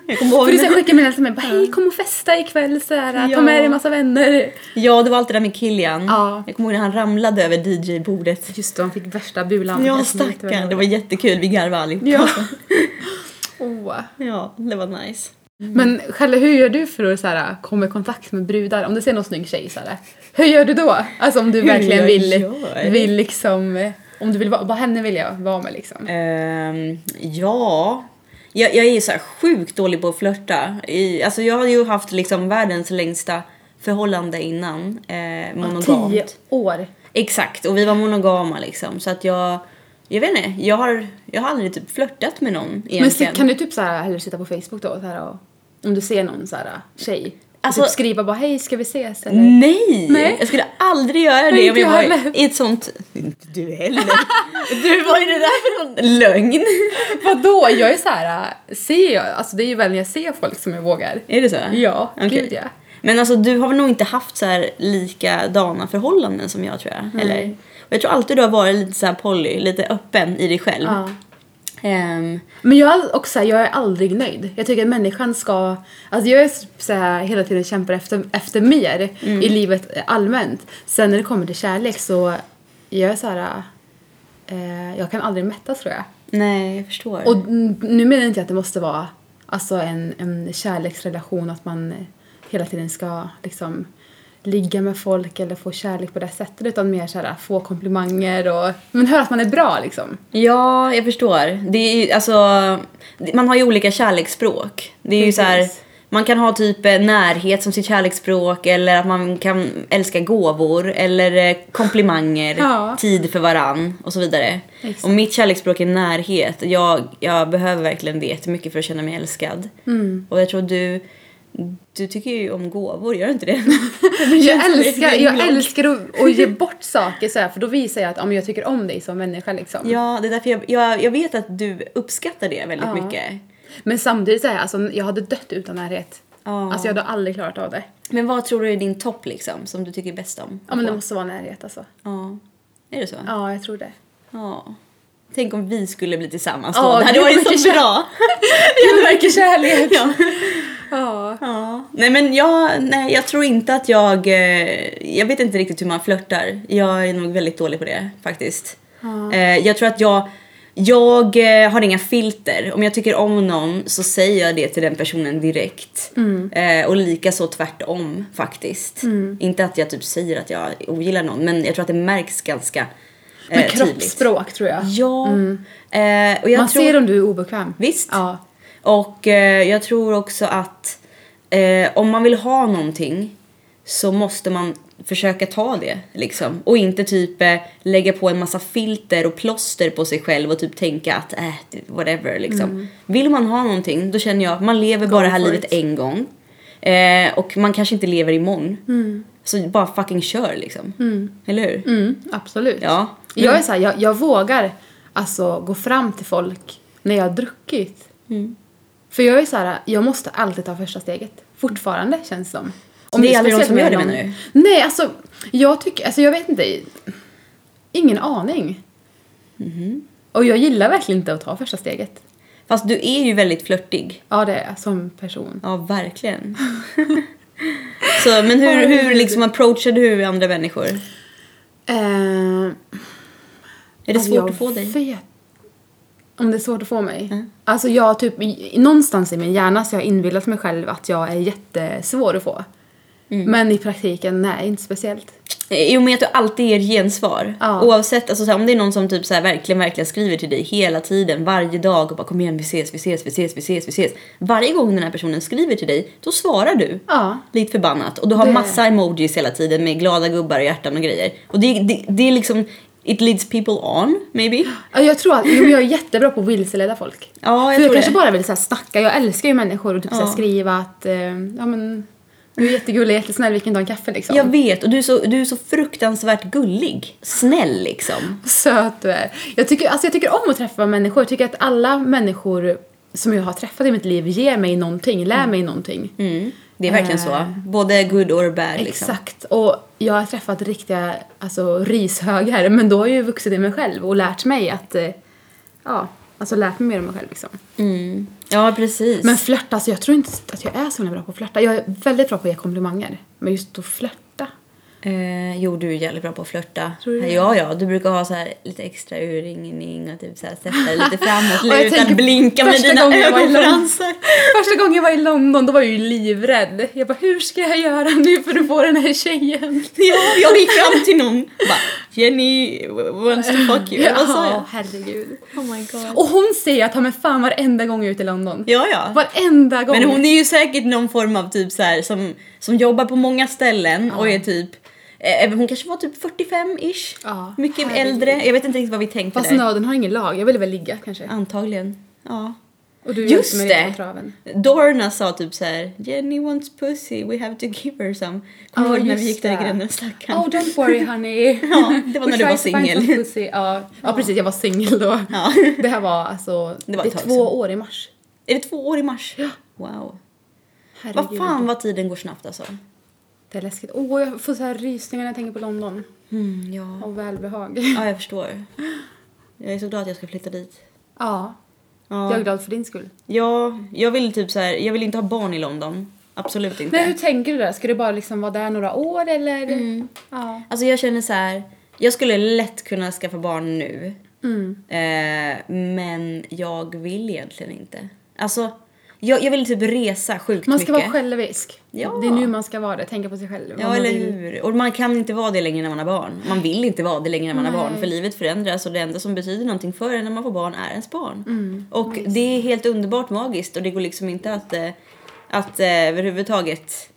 Speaker 1: Jag kommer ihåg
Speaker 2: För du så här
Speaker 1: när-
Speaker 2: skickade meddelanden till mig bara hej kom och festa ikväll så här, eh,
Speaker 1: Ja.
Speaker 2: ta med dig en massa vänner.
Speaker 1: Ja, det var allt det där med Kilian.
Speaker 2: Ja.
Speaker 1: Jag kommer ihåg när han ramlade över DJ-bordet.
Speaker 2: Just då, han fick värsta bulan.
Speaker 1: Ja,
Speaker 2: Eftersom jag inte
Speaker 1: stackarn. Det
Speaker 2: roligt.
Speaker 1: var jättekul. Vi garvade allihop.
Speaker 2: Ja. Oh. Åh.
Speaker 1: ja, det var nice.
Speaker 2: Men Challe, hur gör du för att så här, komma i kontakt med brudar? Om du ser någon snygg tjej så här, hur gör du då? Alltså om du
Speaker 1: Hur
Speaker 2: verkligen
Speaker 1: jag
Speaker 2: vill,
Speaker 1: gör?
Speaker 2: vill liksom, eh, om du vill vara, bara henne vill jag vara med liksom.
Speaker 1: Ehm, ja. Jag, jag är ju så här sjukt dålig på att flörta. I, alltså jag har ju haft liksom världens längsta förhållande innan. Eh, monogamt.
Speaker 2: Tio år.
Speaker 1: Exakt, och vi var monogama liksom. Så att jag, jag vet inte, jag har, jag har aldrig typ flörtat med någon
Speaker 2: Men så,
Speaker 1: egentligen.
Speaker 2: kan du typ så här, hellre sitta på Facebook då? Så här, och, om du ser någon så här, tjej.
Speaker 1: Alltså-
Speaker 2: Alltså, typ skriva bara hej ska vi ses eller?
Speaker 1: Nej!
Speaker 2: Nej.
Speaker 1: Jag skulle aldrig göra
Speaker 2: Nej,
Speaker 1: det om
Speaker 2: inte
Speaker 1: jag
Speaker 2: jag
Speaker 1: var
Speaker 2: heller.
Speaker 1: i ett sånt... Inte du heller. du, vad är det där för någon lögn?
Speaker 2: Vadå? Jag är så här, äh, ser jag, alltså det är ju väl när jag ser folk som jag vågar.
Speaker 1: Är det så?
Speaker 2: Ja,
Speaker 1: Okej.
Speaker 2: gud ja.
Speaker 1: Men alltså du har väl nog inte haft så här likadana förhållanden som jag tror jag, eller? Och jag tror alltid du har varit lite så här poly, lite öppen i dig själv.
Speaker 2: Ja.
Speaker 1: Ehm,
Speaker 2: Men jag, är all- också, här, jag är aldrig nöjd. Jag tycker att människan ska... Alltså jag är så här, hela tiden kämpar efter, efter mer i livet allmänt. Sen när det kommer till kärlek så jag är så här... Eh, jag kan aldrig mättas tror jag.
Speaker 1: nej, jag förstår.
Speaker 2: Och n- nu menar jag inte att det måste vara alltså en, en kärleksrelation att man hela tiden ska liksom ligga med folk eller få kärlek på det sättet utan mer så här, få komplimanger och men höra att man är bra liksom.
Speaker 1: Ja, jag förstår. Det är ju, alltså, det- man har ju olika kärleksspråk. Det är ju så här,
Speaker 2: Precis.
Speaker 1: man kan ha typ eh, närhet som sitt kärleksspråk eller att man kan älska gåvor eller eh, komplimanger,
Speaker 2: Ja.
Speaker 1: tid för varann och så vidare.
Speaker 2: Exakt.
Speaker 1: Och mitt kärleksspråk är närhet. Jag, jag behöver verkligen det jättemycket för att känna mig älskad.
Speaker 2: Mm.
Speaker 1: Och jag tror du, du tycker ju om gåvor, gör du inte det?
Speaker 2: Jag älskar, jag
Speaker 1: rimligt.
Speaker 2: älskar att, att ge bort saker så här, för då visar jag att ja, men jag tycker om dig som människa liksom.
Speaker 1: Ja, det är därför jag, jag, jag vet att du uppskattar det väldigt
Speaker 2: Ja.
Speaker 1: mycket.
Speaker 2: Men samtidigt så här, alltså, jag hade dött utan närhet.
Speaker 1: Ja.
Speaker 2: Alltså jag hade aldrig klarat av det.
Speaker 1: Men vad tror du är din topp liksom, som du tycker bäst om?
Speaker 2: Ja men det måste vara närhet alltså.
Speaker 1: Ja. Är det så? Ja.
Speaker 2: Ja, jag tror det.
Speaker 1: Tänk om vi skulle bli tillsammans
Speaker 2: Ja,
Speaker 1: då. Det hade
Speaker 2: gud,
Speaker 1: varit så
Speaker 2: vilken
Speaker 1: bra.
Speaker 2: Gud vilken kärlek! Ja. ja.
Speaker 1: Ja. Nej men jag, nej, jag tror inte att jag, eh, jag vet inte riktigt hur man flörtar. Jag är nog väldigt dålig på det faktiskt.
Speaker 2: Ja.
Speaker 1: Eh, Jag tror att jag, jag eh, har inga filter. Om jag tycker om någon så säger jag det till den personen direkt.
Speaker 2: Mm.
Speaker 1: Eh, Och lika så tvärtom faktiskt. Inte att jag typ säger att jag ogillar någon men jag tror att det märks ganska eh,
Speaker 2: Men
Speaker 1: tydligt.
Speaker 2: kroppsspråk tror jag.
Speaker 1: Ja. Eh, och jag
Speaker 2: Man
Speaker 1: tror,
Speaker 2: ser om du är obekväm.
Speaker 1: Visst.
Speaker 2: Ja.
Speaker 1: Och eh, jag tror också att eh, om man vill ha någonting så måste man försöka ta det liksom. Och inte typ eh, lägga på en massa filter och plåster på sig själv och typ tänka att äh, whatever liksom. Vill man ha någonting då känner jag att man lever bara det här
Speaker 2: for
Speaker 1: livet
Speaker 2: it.
Speaker 1: en gång. Eh, och man kanske inte lever imorgon. Så bara fucking kör liksom. Eller hur?
Speaker 2: Mm, absolut.
Speaker 1: Ja.
Speaker 2: Jag är så här, jag, jag vågar alltså gå fram till folk när jag har druckit.
Speaker 1: Mm.
Speaker 2: För jag är så här, jag måste alltid ta första steget. Fortfarande känns det som.
Speaker 1: Det är aldrig någon som
Speaker 2: speciellt
Speaker 1: gör det,
Speaker 2: med
Speaker 1: menar
Speaker 2: Nej, alltså jag tycker, alltså jag vet inte. Ingen aning.
Speaker 1: Mhm.
Speaker 2: Och jag gillar verkligen inte att ta första steget.
Speaker 1: Fast du är ju väldigt flörtig.
Speaker 2: Ja, det är jag som person.
Speaker 1: Ja, verkligen. så, men hur, hur liksom approachar du andra människor?
Speaker 2: Eh,
Speaker 1: Är det
Speaker 2: Alltså,
Speaker 1: svårt
Speaker 2: jag
Speaker 1: att få dig? Mm.
Speaker 2: Vet. Om det är svårt att få mig? Alltså jag typ, i- någonstans i min hjärna så har jag inbillat mig själv att jag är jättesvår att få.
Speaker 1: Mm.
Speaker 2: Men i praktiken, nej, inte speciellt.
Speaker 1: I och med att du alltid ger gensvar.
Speaker 2: Ja.
Speaker 1: Oavsett, alltså, så här, om det är någon som typ, så här, verkligen, verkligen skriver till dig hela tiden, varje dag och bara kom igen, vi ses, vi ses, vi ses, vi ses, vi ses. Varje gång den här personen skriver till dig, då svarar du.
Speaker 2: Ja.
Speaker 1: Lite förbannat. Och du har
Speaker 2: Det-
Speaker 1: massa emojis hela tiden med glada gubbar och hjärtan och grejer. Och det, det, det är liksom, it leads people on, maybe.
Speaker 2: Ja, Jag tror att jo, men jag är jättebra på att vilseleda folk.
Speaker 1: Ja, jag
Speaker 2: För jag
Speaker 1: tror
Speaker 2: kanske
Speaker 1: det.
Speaker 2: bara vill så här, snacka, jag älskar ju människor och typ så
Speaker 1: Ja.
Speaker 2: här, skriva att eh, ja men du är jättegullig, jättesnäll, vi kan ta en kaffe liksom.
Speaker 1: Jag vet, och du är, så, du är så fruktansvärt gullig. Snäll liksom.
Speaker 2: Söt du är. Jag tycker, alltså jag tycker om att träffa människor. Jag tycker att alla människor som jag har träffat i mitt liv ger mig någonting, lär mig någonting.
Speaker 1: Mm. Det är verkligen så. Både good och bad. Liksom.
Speaker 2: Exakt. Och jag har träffat riktiga alltså, rishögar, men då har jag ju vuxit i mig själv och lärt mig att, eh, ja, alltså lärt mig mer om mig själv liksom.
Speaker 1: Mm. Ja, precis.
Speaker 2: Men flört, alltså jag tror inte att jag är så himla bra på att flörta. Jag är väldigt bra på att ge komplimanger, men just att flörta.
Speaker 1: Eh, jo, du är jävligt bra på att flörta.
Speaker 2: Tror du det?
Speaker 1: Ja, ja. Du brukar ha så här lite extra urringning och typ så här sätta dig lite framåt
Speaker 2: Och jag tänker
Speaker 1: utan blinka med
Speaker 2: första
Speaker 1: dina
Speaker 2: gången jag var i
Speaker 1: ögonfransar.
Speaker 2: Första gången jag var i London, då var jag ju livrädd. Jag bara, hur ska jag göra nu för att få den här tjejen?
Speaker 1: Ja, jag gick fram till någon bara Jenny wants to fuck you. Vad sa jag?
Speaker 2: herregud.
Speaker 1: Oh my god.
Speaker 2: Och hon säger att ta mig fan varenda gång jag är ute i London.
Speaker 1: Ja, ja.
Speaker 2: Varenda gång.
Speaker 1: Men hon är ju säkert någon form av typ så här som, som jobbar på många ställen och är typ eh, hon kanske var typ 45-ish.
Speaker 2: Ja,
Speaker 1: Mycket
Speaker 2: herregud.
Speaker 1: äldre. Jag vet inte riktigt vad vi tänkte
Speaker 2: Fast
Speaker 1: där.
Speaker 2: nöden har ingen lag, jag ville väl ligga kanske.
Speaker 1: Antagligen. Ja.
Speaker 2: Och du
Speaker 1: Just
Speaker 2: hjälpte mig lite
Speaker 1: det.
Speaker 2: på traven.
Speaker 1: Dorna sa typ så här: Jenny wants pussy, we have to give her some. Kommer
Speaker 2: Ja,
Speaker 1: du ihåg när vi
Speaker 2: just
Speaker 1: gick där i
Speaker 2: det.
Speaker 1: grannen stackaren?
Speaker 2: Oh don't worry honey.
Speaker 1: Ja, det var
Speaker 2: We
Speaker 1: när du var
Speaker 2: tried to find
Speaker 1: singel.
Speaker 2: some pussy. Ja. ja precis, jag var singel då.
Speaker 1: Ja.
Speaker 2: Det här var alltså, det,
Speaker 1: Det var
Speaker 2: är
Speaker 1: ett tag
Speaker 2: två år i mars.
Speaker 1: Är det två år i mars? Wow.
Speaker 2: Herregud.
Speaker 1: Vad fan vad tiden går snabbt alltså.
Speaker 2: Det är läskigt. Åh, jag får så här rysningar när jag tänker på London.
Speaker 1: Mm, ja.
Speaker 2: Av välbehag.
Speaker 1: ja, jag förstår. Jag är så glad att jag ska flytta dit.
Speaker 2: Ja, jag
Speaker 1: Ja,
Speaker 2: är glad för din skull.
Speaker 1: ja jag vill typ så här, jag vill inte ha barn i London. Absolut inte.
Speaker 2: Men hur tänker du där? Ska du bara liksom vara där några år eller?
Speaker 1: Mm.
Speaker 2: Ja.
Speaker 1: Alltså jag känner så här, jag skulle lätt kunna skaffa barn nu.
Speaker 2: Mm.
Speaker 1: Eh, men jag vill egentligen inte. Alltså, jag, jag vill typ resa sjukt
Speaker 2: Man ska
Speaker 1: mycket.
Speaker 2: vara självisk.
Speaker 1: Ja.
Speaker 2: Det är nu man ska vara det, tänka på sig själv. vad
Speaker 1: Ja,
Speaker 2: man
Speaker 1: eller
Speaker 2: vill.
Speaker 1: hur? Och man kan inte vara det längre när man har barn. Man vill inte vara det längre när man
Speaker 2: Nej.
Speaker 1: har barn för livet förändras och det enda som betyder någonting för en när man får barn är ens barn.
Speaker 2: Mm.
Speaker 1: Och det är helt underbart magiskt och det går liksom inte att, eh, att eh, överhuvudtaget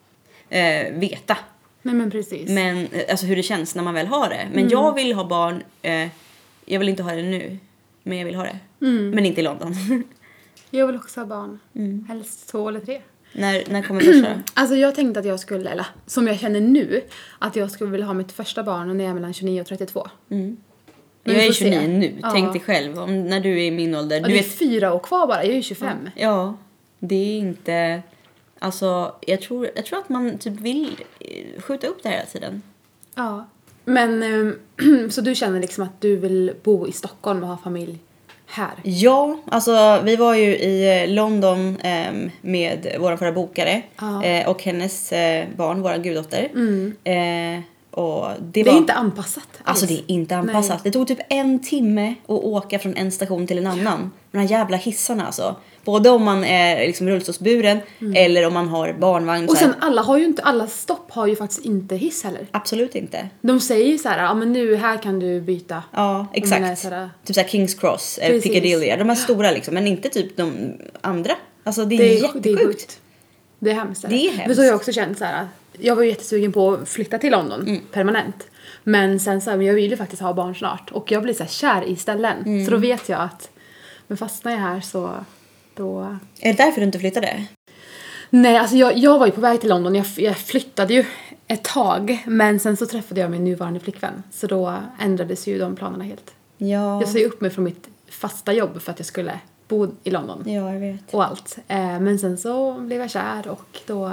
Speaker 1: eh, veta
Speaker 2: Nej men precis.
Speaker 1: men, eh, alltså hur det känns när man väl har det. Men jag vill ha barn, eh, jag vill inte ha det nu, men jag vill ha det. Men inte i London.
Speaker 2: Jag vill också ha barn. Helst två eller tre.
Speaker 1: när, när kommer första?
Speaker 2: Alltså jag tänkte att jag skulle, eller som jag känner nu, att jag skulle vilja ha mitt första barn när jag är mellan 29 och 32. Men
Speaker 1: Jag
Speaker 2: vi
Speaker 1: är
Speaker 2: får se.
Speaker 1: 29 nu,
Speaker 2: Ja.
Speaker 1: tänk dig själv om, när du är i min ålder.
Speaker 2: Och
Speaker 1: Du
Speaker 2: det är
Speaker 1: vet
Speaker 2: fyra år kvar bara, jag är ju 25.
Speaker 1: Ja, det är inte... Alltså, jag tror, jag tror att man typ vill eh, skjuta upp det här hela tiden.
Speaker 2: Ja. Men, ehm, så du känner liksom att du vill bo i Stockholm och ha familj här?
Speaker 1: Ja, alltså vi var ju i eh, London ehm, med vår förra bokare
Speaker 2: Ja.
Speaker 1: eh, och hennes eh, barn, vår guddotter. Eh, och det,
Speaker 2: Det
Speaker 1: var...
Speaker 2: är inte anpassat alls.
Speaker 1: Alltså det är inte anpassat.
Speaker 2: Nej.
Speaker 1: Det tog typ en timme att åka från en station till en annan. De här jävla hissarna alltså. Både om man är liksom rullstolsburen eller om man har barnvagn.
Speaker 2: Mm. Och
Speaker 1: så här.
Speaker 2: sen alla har ju inte, alla stopp har ju faktiskt inte hiss heller.
Speaker 1: Absolut inte.
Speaker 2: De säger ju så här, ja men nu, här kan du byta.
Speaker 1: Ja,
Speaker 2: Om man är
Speaker 1: exakt.
Speaker 2: sådär-
Speaker 1: Typ såhär Kings Cross, eh,
Speaker 2: Precis.
Speaker 1: Piccadilly, de här stora liksom. Men inte typ de andra. Alltså det är,
Speaker 2: Det är,
Speaker 1: jättesjukt.
Speaker 2: det är sjukt. Det är hemskt.
Speaker 1: Det är
Speaker 2: Men
Speaker 1: hemskt.
Speaker 2: så har jag också känt så här. Jag var ju jättesugen på att flytta till London
Speaker 1: Mm.
Speaker 2: permanent. Men sen så här, men jag vill ju faktiskt ha barn snart. Och jag blir så här kär i ställen.
Speaker 1: Mm.
Speaker 2: Så då vet jag att, men fastnar jag här så, då...
Speaker 1: Är det därför du inte flyttade?
Speaker 2: Nej, alltså jag, jag var ju på väg till London. Jag, jag flyttade ju ett tag. Men sen så träffade jag min nuvarande flickvän. Så då ändrades ju de planerna helt.
Speaker 1: Ja,
Speaker 2: Jag sa ju upp mig från mitt fasta jobb för att jag skulle bo i London
Speaker 1: ja jag vet.
Speaker 2: och allt. Eh, men sen så blev jag kär och då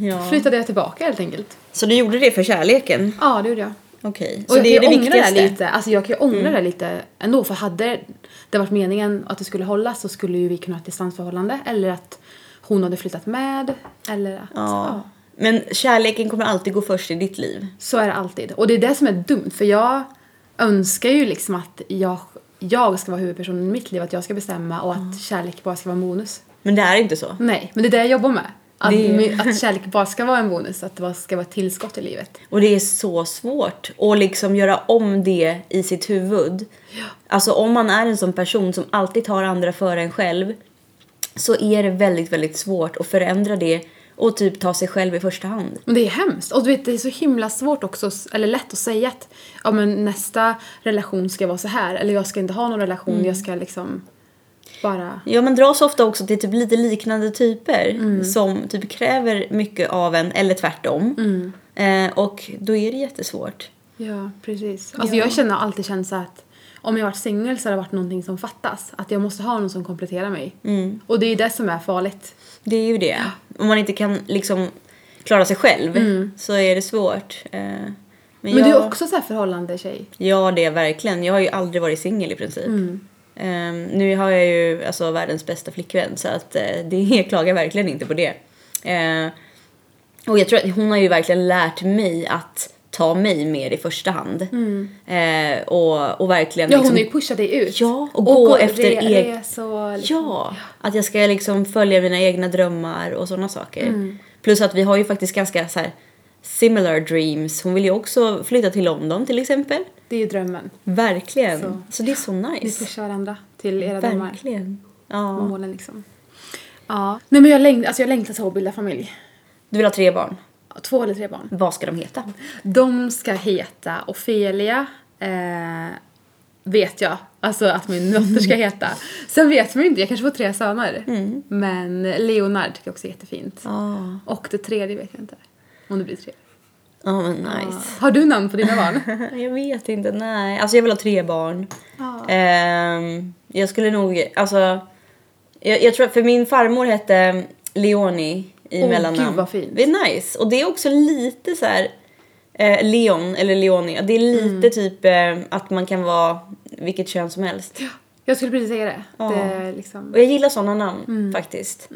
Speaker 1: Ja.
Speaker 2: flyttade jag tillbaka helt enkelt.
Speaker 1: Så du gjorde det för kärleken?
Speaker 2: Ja, det gjorde jag.
Speaker 1: Okej.
Speaker 2: Och
Speaker 1: Så
Speaker 2: jag
Speaker 1: det är
Speaker 2: kan
Speaker 1: det
Speaker 2: ju ångra det här
Speaker 1: viktigaste?
Speaker 2: lite. Alltså jag kan ju ångra det lite ändå för hade det varit meningen att det skulle hållas så skulle ju vi kunna ha ett distansförhållande eller att hon hade flyttat med eller att...
Speaker 1: Ja. Men kärleken kommer alltid gå först i ditt liv.
Speaker 2: Så är det alltid. Och det är det som är dumt för jag önskar ju liksom att jag, jag ska vara huvudpersonen i mitt liv, att jag ska bestämma och att kärlek bara ska vara en bonus.
Speaker 1: Men det är inte så.
Speaker 2: Nej, men det är det jag jobbar med. Att,
Speaker 1: Det-
Speaker 2: med- att kärlek bara ska vara en bonus, att det bara ska vara ett tillskott i livet.
Speaker 1: Och det är så svårt att liksom göra om det i sitt huvud. Alltså om man är en sån person som alltid tar andra före en själv så är det väldigt, väldigt svårt att förändra det och typ ta sig själv i första hand.
Speaker 2: Men det är hemskt. Och du vet, det är så himla svårt också, eller lätt att säga att ja, men nästa relation ska vara så här, eller jag ska inte ha någon relation,
Speaker 1: Mm.
Speaker 2: jag ska liksom bara...
Speaker 1: Ja, man dras ofta också till typ lite liknande typer
Speaker 2: Mm.
Speaker 1: som typ kräver mycket av en eller tvärtom.
Speaker 2: Mm.
Speaker 1: Eh, och då är det jättesvårt.
Speaker 2: Ja, precis. Alltså jag känner alltid känt så att om jag varit singel så har det varit någonting som fattas. Att jag måste ha någon som kompletterar mig.
Speaker 1: Mm.
Speaker 2: Och det är ju det som är farligt.
Speaker 1: Det är ju det. Om man inte kan liksom klara sig själv så är det svårt. Eh, Men,
Speaker 2: Mm. Men du
Speaker 1: jag-
Speaker 2: är också så här förhållande tjej.
Speaker 1: Ja, det är verkligen. Jag har ju aldrig varit singel i princip.
Speaker 2: Mm.
Speaker 1: Ehm, nu har jag ju alltså, världens bästa flickvän så att eh, det jag klagar verkligen inte på det. Ehm, och jag tror att hon har ju verkligen lärt mig att ta mig mer i första hand. Ehm, och, och verkligen
Speaker 2: Mm. Ja, hon
Speaker 1: liksom-
Speaker 2: har ju pushat dig ut.
Speaker 1: Ja, och gå efter
Speaker 2: re-
Speaker 1: eg-
Speaker 2: resor, liksom.
Speaker 1: Ja, att jag ska liksom följa mina egna drömmar och sådana saker.
Speaker 2: Mm.
Speaker 1: Plus att vi har ju faktiskt ganska så här similar dreams. Hon vill ju också flytta till London till exempel.
Speaker 2: Det är ju drömmen.
Speaker 1: Verkligen.
Speaker 2: Så.
Speaker 1: Så, det är så
Speaker 2: Ni
Speaker 1: nice.
Speaker 2: pushar varandra till era drömmar.
Speaker 1: Verkligen. Ja.
Speaker 2: Målen liksom. Ja. Nej men jag, läng- alltså, jag längtar så att bilda familj.
Speaker 1: Du vill ha tre barn.
Speaker 2: Två eller tre barn.
Speaker 1: Vad ska de heta?
Speaker 2: De ska heta Ofelia, eh, vet jag. Alltså att min dotter ska heta. Sen vet man ju inte, jag kanske får tre söner. Men Leonard tycker jag också är jättefint.
Speaker 1: Mm. Ja,
Speaker 2: Och det tredje vet jag inte. Om det blir tre.
Speaker 1: ja men nice.
Speaker 2: Har du namn på dina barn?
Speaker 1: Jag vet inte, nej. Alltså jag vill ha tre barn. Ehm, jag skulle nog, alltså. Jag, jag tror att för min farmor hette Leoni i
Speaker 2: Åh,
Speaker 1: mellannamn.
Speaker 2: gud, vad fint.
Speaker 1: Det är nice. Och det är också lite så här. Eh, Leon eller Leoni. Det är lite typ eh, att man kan vara vilket kön som helst.
Speaker 2: Jag skulle precis säga det.
Speaker 1: Ja.
Speaker 2: det är liksom...
Speaker 1: Och jag gillar sådana namn faktiskt.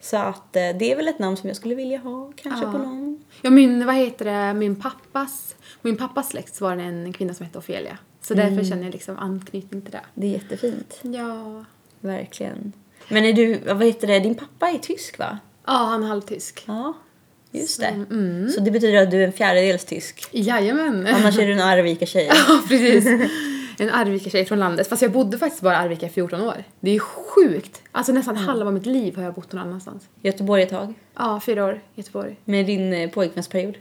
Speaker 1: Så att eh, det är väl ett namn som jag skulle vilja ha kanske på någon.
Speaker 2: Ja, min, vad heter det, min pappas, min pappas släkt så var det en kvinna som hette Ofelia. Så därför känner jag liksom anknytning till det.
Speaker 1: Det är jättefint.
Speaker 2: Ja.
Speaker 1: Verkligen. Men är du, vad heter det, din pappa är tysk va?
Speaker 2: Ja, han är halvtysk.
Speaker 1: Ja, just det. Så mm. det betyder att du är en fjärdedels tysk.
Speaker 2: Jajamän.
Speaker 1: Annars är du en Arvika-tjej.
Speaker 2: Ja, precis. En Arvika-tjej från landet. Fast jag bodde faktiskt bara i Arvika i 14 år. Det är sjukt. Alltså nästan halva mitt liv har jag bott någon annanstans.
Speaker 1: Göteborg ett tag.
Speaker 2: Ja, fyra år i Göteborg.
Speaker 1: Med din eh, pojkvänsperiod.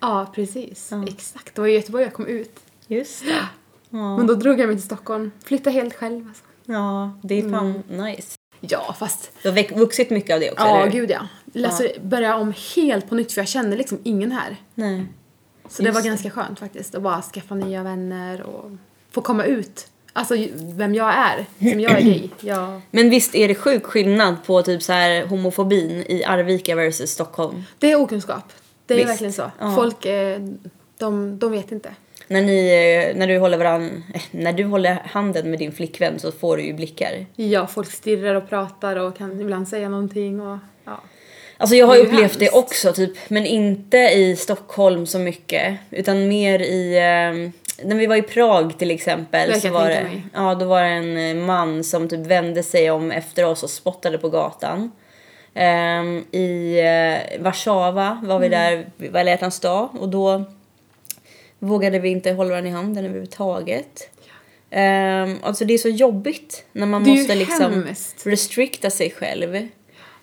Speaker 2: Ja, precis. Exakt. Det var i Göteborg jag kom ut.
Speaker 1: Just det. Ja,
Speaker 2: Men då drog jag mig till Stockholm. Flyttade helt själv alltså.
Speaker 1: ja Mm. det är fan nice.
Speaker 2: Ja, fast...
Speaker 1: Du har väck- vuxit mycket av det också,
Speaker 2: Ja,
Speaker 1: eller hur?
Speaker 2: gud ja. Alltså, börja om helt på nytt för jag kände liksom ingen här.
Speaker 1: Nej.
Speaker 2: Så det var ganska skönt faktiskt att bara skaffa nya vänner och få komma ut. Alltså ju- vem jag är, som jag är gay. Jag...
Speaker 1: Men visst är det sjuk skillnad på typ så här homofobin i Arvika versus Stockholm?
Speaker 2: Det är okunskap. Det är
Speaker 1: Visst.
Speaker 2: verkligen så.
Speaker 1: Ja.
Speaker 2: Folk, eh, de, de vet inte.
Speaker 1: När, ni, eh, när, du håller varann, eh, när du håller handen med din flickvän så får du ju blickar.
Speaker 2: Ja, folk stirrar och pratar och kan ibland säga någonting och ja.
Speaker 1: Alltså jag har
Speaker 2: Det är ju
Speaker 1: upplevt det
Speaker 2: hemskt.
Speaker 1: också typ, men inte i Stockholm så mycket utan mer i eh, när vi var i Prag till exempel
Speaker 2: Jag
Speaker 1: så
Speaker 2: kan
Speaker 1: var
Speaker 2: tänka
Speaker 1: det,
Speaker 2: mig.
Speaker 1: ja, då var det en eh, man som typ vände sig om efter oss och spottade på gatan. Ehm, I eh, Warszawa var vi
Speaker 2: Mm.
Speaker 1: där, vi var alla hjärtans dag och då vågade vi inte hålla varandra i handen överhuvudtaget. Um, alltså det är så jobbigt när man
Speaker 2: Det är ju
Speaker 1: måste liksom
Speaker 2: hemskt.
Speaker 1: restrikta sig själv.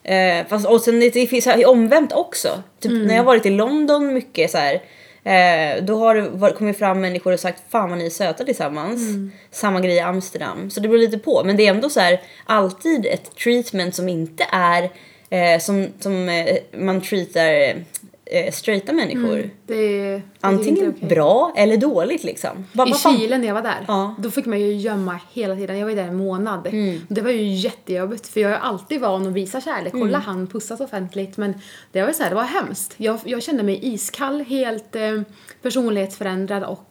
Speaker 1: Eh, fast, och sen det, det finns så här omvänt också. Typ när jag
Speaker 2: Mm.
Speaker 1: har varit i London mycket så här. Eh, då har det var- kommit fram människor och sagt fan vad ni är söta tillsammans.
Speaker 2: Mm.
Speaker 1: Samma grej i Amsterdam. Så det beror lite på. Men det är ändå så här alltid ett treatment som inte är eh, som, som eh, man treatar eh, straighta människor.
Speaker 2: Mm. Det är, det är
Speaker 1: Antingen
Speaker 2: inte okej.
Speaker 1: bra eller dåligt liksom. Bara,
Speaker 2: I
Speaker 1: vad fan-
Speaker 2: Chile när jag var där,
Speaker 1: Ja.
Speaker 2: då fick man ju gömma hela tiden. Jag var ju där en månad. Det var ju jättejobbigt för jag är alltid van att visa kärlek. Kolla han pussas offentligt. Men det var ju så här, det var hemskt. Jag, jag kände mig iskall, helt eh, personlighetsförändrad och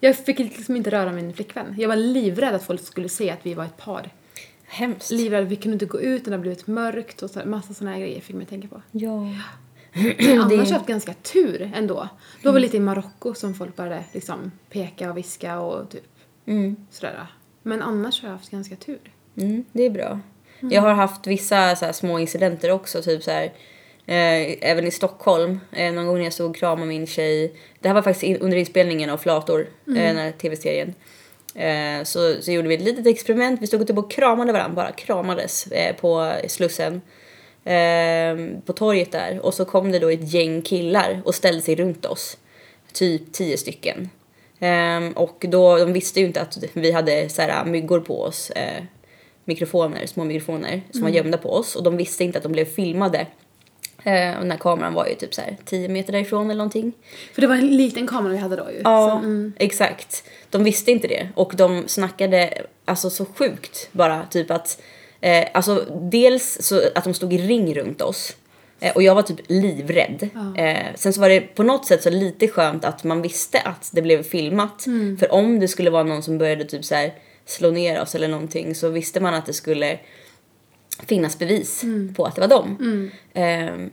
Speaker 2: jag fick liksom inte röra min flickvän. Jag var livrädd att folk skulle se att vi var ett par.
Speaker 1: Hemskt.
Speaker 2: Livrädd, vi kunde inte gå ut när det hade blivit mörkt och så, massa sådana här grejer fick mig tänka på.
Speaker 1: Ja.
Speaker 2: Men annars har jag haft ganska tur ändå. Då var vi lite i Marocko som folk började liksom peka och viska och typ sådär. Men annars har jag haft ganska tur.
Speaker 1: Mm, det är bra. Jag har haft vissa så här, små incidenter också, typ så här, eh, även i Stockholm. Eh, någon gång när jag stod och kramade min tjej. Det här var faktiskt in, under inspelningen av Flator, eh, den här tv-serien. Eh, så, så gjorde vi ett litet experiment. Vi stod typ och kramade varandra, bara kramades eh, på Slussen. Eh, på torget där. Och så kom det då ett gäng killar och ställde sig runt oss. Typ tio stycken. Ehm, och då, de visste ju inte att vi hade så här, myggor på oss. Eh, mikrofoner, små mikrofoner som var gömda på oss. Och de visste inte att de blev filmade Eh, och den här kameran var ju typ så här 10 meter därifrån eller någonting.
Speaker 2: För det var en liten kamera vi hade då ju.
Speaker 1: Ja,
Speaker 2: Så, mm.
Speaker 1: typ. exakt. De visste inte det och de snackade alltså så sjukt bara typ att eh, alltså dels så att de stod i ring runt oss eh, och jag var typ livrädd. Eh, sen så var det på något sätt så lite skönt att man visste att det blev filmat
Speaker 2: Mm.
Speaker 1: för om det skulle vara någon som började typ så här slå ner oss eller någonting så visste man att det skulle finnas bevis
Speaker 2: Mm.
Speaker 1: på att det var dem. Eh,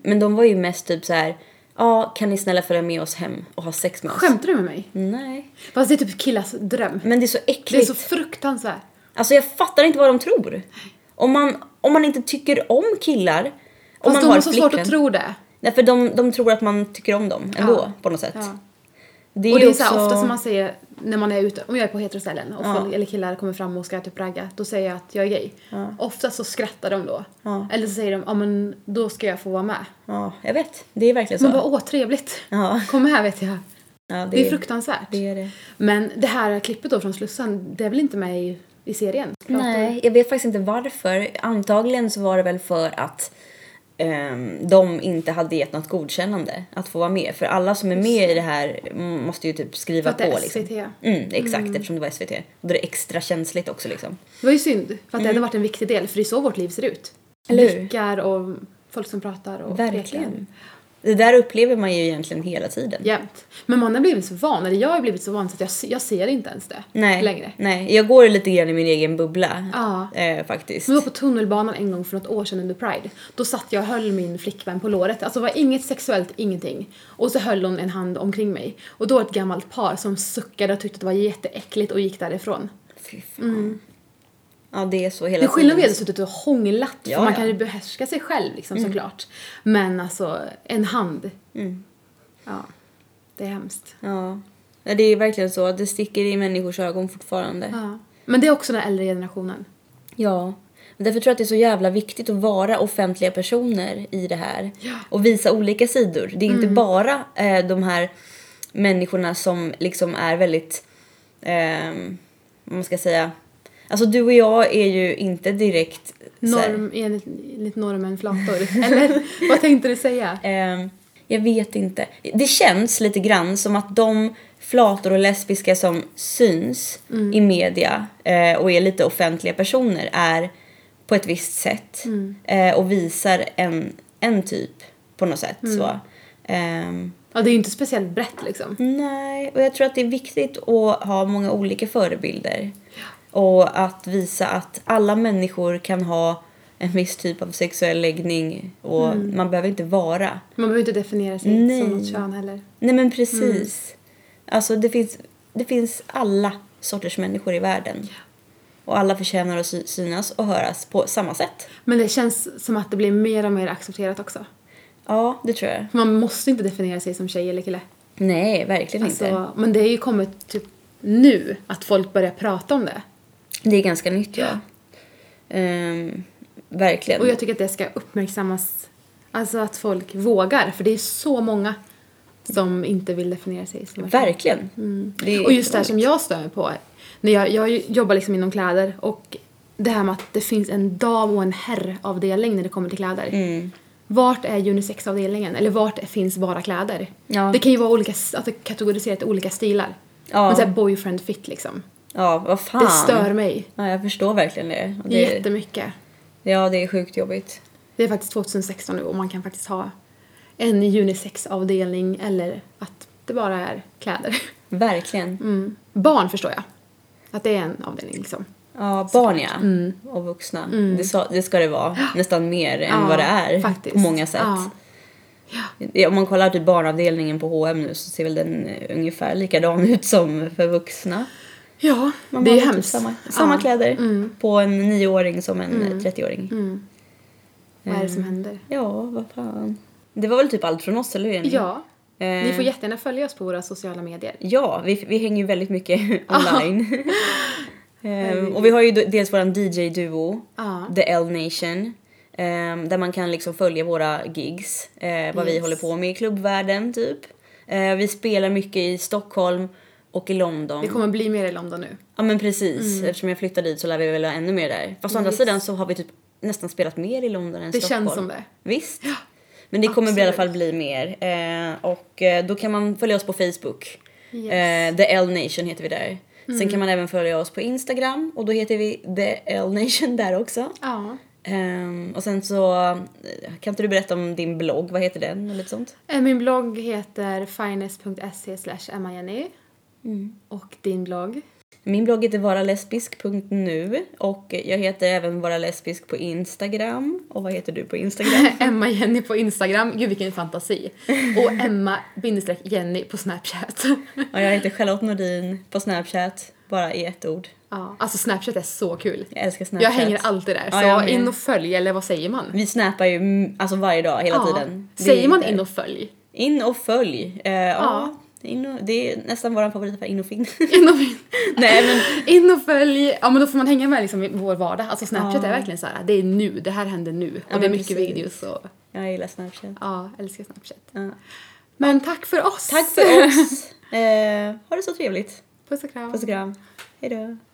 Speaker 1: men de var ju mest typ så här Ja, kan ni snälla följa med oss hem och ha sex med oss?
Speaker 2: Skämtar du med mig?
Speaker 1: Nej.
Speaker 2: Fast det är typ killars dröm.
Speaker 1: Men det är så äckligt.
Speaker 2: Det är så fruktansvärt.
Speaker 1: Alltså jag fattar inte vad de tror. Om man, om man inte tycker om killar. Om
Speaker 2: Fast
Speaker 1: man
Speaker 2: de
Speaker 1: har
Speaker 2: har så svårt
Speaker 1: flickvän.
Speaker 2: att tro det.
Speaker 1: Nej för de, de tror att man tycker om dem ändå
Speaker 2: Ja.
Speaker 1: på något sätt.
Speaker 2: Ja.
Speaker 1: Det
Speaker 2: och det
Speaker 1: ju
Speaker 2: är så här,
Speaker 1: också-
Speaker 2: ofta som man säger när man är ute, om jag är på heteroställen och folk, eller killar kommer fram och ska typ ragga, då säger jag att jag är gay. Ofta så skrattar de då. Eller så säger de, ja men då ska jag få vara med.
Speaker 1: Ja, jag vet. Det är verkligen så.
Speaker 2: Man bara, åh trevligt.
Speaker 1: Ja.
Speaker 2: Kom här vet jag.
Speaker 1: ja,
Speaker 2: Det är fruktansvärt.
Speaker 1: det är det.
Speaker 2: Men det här klippet då från Slussen, det är väl inte med i, i serien?
Speaker 1: Nej, jag vet faktiskt inte varför. Antagligen så var det väl för att ehm, de inte hade gett något godkännande att få vara med. För alla som är med i det här mm, måste ju typ
Speaker 2: För
Speaker 1: skriva
Speaker 2: att det är
Speaker 1: på. Liksom.
Speaker 2: SVT.
Speaker 1: Mm, exakt, eftersom det var SVT. Och då är det extra känsligt också liksom.
Speaker 2: Det var ju synd, för att det
Speaker 1: Mm.
Speaker 2: hade varit en viktig del, för det är så vårt liv ser ut.
Speaker 1: Eller hur?
Speaker 2: Blickar och folk som pratar och pekar.
Speaker 1: Verkligen. Det där upplever man ju egentligen hela tiden.
Speaker 2: Jämt. Men man har blivit så van, eller jag har blivit så van så att jag, se- jag ser inte ens det
Speaker 1: Nej,
Speaker 2: längre.
Speaker 1: nej, jag går lite grann i min egen bubbla
Speaker 2: Ja. Mm.
Speaker 1: eh, faktiskt.
Speaker 2: Men jag var på tunnelbanan en gång för något år sedan under Pride. Då satt jag och höll min flickvän på låret. Alltså det var inget sexuellt, ingenting. Och så höll hon en hand omkring mig. Och då var det ett gammalt par som suckade och tyckte att det var jätteäckligt och gick därifrån.
Speaker 1: Fy fan. Ja, det är så hela
Speaker 2: Mm. Det är skillnad om vi hade suttit och hånglat, för
Speaker 1: Ja,
Speaker 2: man
Speaker 1: ja. Mm.
Speaker 2: kan ju behärska sig själv liksom såklart. Men alltså, en hand. Ja, det är hemskt.
Speaker 1: Ja. Ja, det är verkligen så. Det sticker i människors ögon fortfarande.
Speaker 2: Ja. Men det är också den äldre generationen.
Speaker 1: Ja. Därför tror jag att det är så jävla viktigt att vara offentliga personer i det här. Och visa olika sidor. Det är inte bara eh, de här människorna som liksom är väldigt, ehm, vad man ska säga, alltså du och jag är ju inte direkt så här-
Speaker 2: Norm, enligt, enligt normen flator. Eller vad tänkte du säga?
Speaker 1: Ehm, jag vet inte. Det känns lite grann som att de flator och lesbiska som syns i media eh, och är lite offentliga personer är på ett visst sätt eh, och visar en, en typ på något sätt. Så. Ehm,
Speaker 2: Ja, det är ju inte speciellt brett liksom.
Speaker 1: Nej, och jag tror att det är viktigt att ha många olika förebilder. Och att visa att alla människor kan ha en viss typ av sexuell läggning och man behöver inte vara
Speaker 2: Man behöver inte definiera sig
Speaker 1: Nej.
Speaker 2: som något kön heller.
Speaker 1: Nej men precis.
Speaker 2: Mm.
Speaker 1: Alltså det finns, det finns alla sorters människor i världen. Och alla förtjänar att sy- synas och höras på samma sätt.
Speaker 2: Men det känns som att det blir mer och mer accepterat också.
Speaker 1: Ja, det tror jag.
Speaker 2: För man måste inte definiera sig som tjej eller kille.
Speaker 1: Nej, verkligen inte.
Speaker 2: Alltså, men det är ju kommit typ nu att folk börjar prata om det.
Speaker 1: Det är ganska nytt, ja. Ehm, verkligen.
Speaker 2: Och jag tycker att det ska uppmärksammas. Alltså att folk vågar, för det är så många som inte vill definiera sig som en tjej.
Speaker 1: Verkligen. Det är
Speaker 2: Mm. Och just det här
Speaker 1: jättevanligt.
Speaker 2: som jag stör mig på. När jag, jag jobbar liksom inom kläder och det här med att det finns en dam och en herravdelning när det kommer till kläder.
Speaker 1: Mm.
Speaker 2: Vart är unisexavdelningen? Eller vart finns bara kläder?
Speaker 1: Ja.
Speaker 2: Det kan ju vara olika, alltså kategoriserat i olika stilar.
Speaker 1: Ja.
Speaker 2: Men såhär boyfriend fit liksom.
Speaker 1: Ja, vad fan.
Speaker 2: Det stör mig
Speaker 1: Ja, jag förstår verkligen det. Och det
Speaker 2: jättemycket.
Speaker 1: Ja, det är sjukt jobbigt.
Speaker 2: Det är faktiskt 2016 nu och man kan faktiskt ha en unisexavdelning eller att det bara är kläder.
Speaker 1: Verkligen.
Speaker 2: Mm. Barn förstår jag. Att det är en avdelning liksom.
Speaker 1: Ja, barn ja.
Speaker 2: Mm.
Speaker 1: Och vuxna. Det, sa, det ska det vara. Nästan mer än
Speaker 2: Ja,
Speaker 1: vad det är
Speaker 2: faktiskt.
Speaker 1: på många sätt.
Speaker 2: Ja.
Speaker 1: Om man kollar typ barnavdelningen på H&M nu så ser väl den eh, ungefär likadan ut som för vuxna.
Speaker 2: Ja,
Speaker 1: Man
Speaker 2: det är
Speaker 1: har
Speaker 2: ju
Speaker 1: typ
Speaker 2: hemskt.
Speaker 1: Samma, samma
Speaker 2: ja. Mm.
Speaker 1: kläder på en nioåring som en mm. 30-åring.
Speaker 2: Vad är det
Speaker 1: Ehm.
Speaker 2: som händer?
Speaker 1: Ja, vad fan. Det var väl typ allt från oss, eller hur? Jenny?
Speaker 2: Ja,
Speaker 1: Eh,
Speaker 2: ni får jättegärna följa oss på våra sociala medier.
Speaker 1: Ja, vi, vi hänger ju väldigt mycket online. Ehm, och vi har ju d- dels våran DJ-duo,
Speaker 2: Ja.
Speaker 1: The L Nation, ehm, där man kan liksom följa våra gigs, eh, vad vi
Speaker 2: Yes.
Speaker 1: håller på med i klubbvärlden typ. Eh, vi spelar mycket i Stockholm och i London.
Speaker 2: Det kommer bli mer i London nu.
Speaker 1: Ja men precis, eftersom jag flyttade dit så lär vi väl ha ännu mer där. Fast å andra
Speaker 2: Mm. Yes.
Speaker 1: sidan så har vi typ nästan spelat mer i London än
Speaker 2: Det
Speaker 1: Stockholm.
Speaker 2: känns som det.
Speaker 1: Visst. Men det kommer i alla
Speaker 2: Absolut.
Speaker 1: fall bli mer. Eh, och eh, då kan man följa oss på Facebook.
Speaker 2: Yes. Mm.
Speaker 1: Eh, The L Nation heter vi där. Sen kan man även följa oss på Instagram och då heter vi The L Nation där också.
Speaker 2: Ja.
Speaker 1: Ehm, och sen så, eh, kan inte du berätta om din blogg, vad heter den och lite sånt?
Speaker 2: Eh, Min blogg heter finest.se slash emmajenny.
Speaker 1: Mm.
Speaker 2: Och din blogg?
Speaker 1: Min blogg heter varalesbisk.nu och jag heter även varalesbisk på Instagram. Och vad heter du på Instagram?
Speaker 2: Emma Jenny på Instagram. Gud vilken fantasi. Och Emma bindestreck Jenny på Snapchat.
Speaker 1: och jag heter Charlotte Nordin på Snapchat, bara i ett ord.
Speaker 2: ja, alltså Snapchat är så kul.
Speaker 1: Jag älskar Snapchat.
Speaker 2: Jag hänger alltid där. Så
Speaker 1: Ja, jag med.
Speaker 2: in och följ, eller vad säger man?
Speaker 1: Vi snappar ju mm, alltså varje dag, hela tiden. Det är
Speaker 2: Säger man
Speaker 1: inte-
Speaker 2: in och följ?
Speaker 1: In och följ. Eh, ja.
Speaker 2: Ja.
Speaker 1: In och, det är nästan vår favorit, in och fin.
Speaker 2: In och,
Speaker 1: Nej men
Speaker 2: in och följ. Ja men då får man hänga med liksom i vår vardag. Alltså Snapchat är verkligen så här. det är nu, det här händer nu. Och det är
Speaker 1: men
Speaker 2: mycket
Speaker 1: precis.
Speaker 2: videos och
Speaker 1: jag gillar Snapchat.
Speaker 2: ja, älskar Snapchat.
Speaker 1: Ja.
Speaker 2: Men tack för oss!
Speaker 1: Tack för oss. Eh, ha det så trevligt.
Speaker 2: Puss och kram.
Speaker 1: Puss och kram. Hejdå.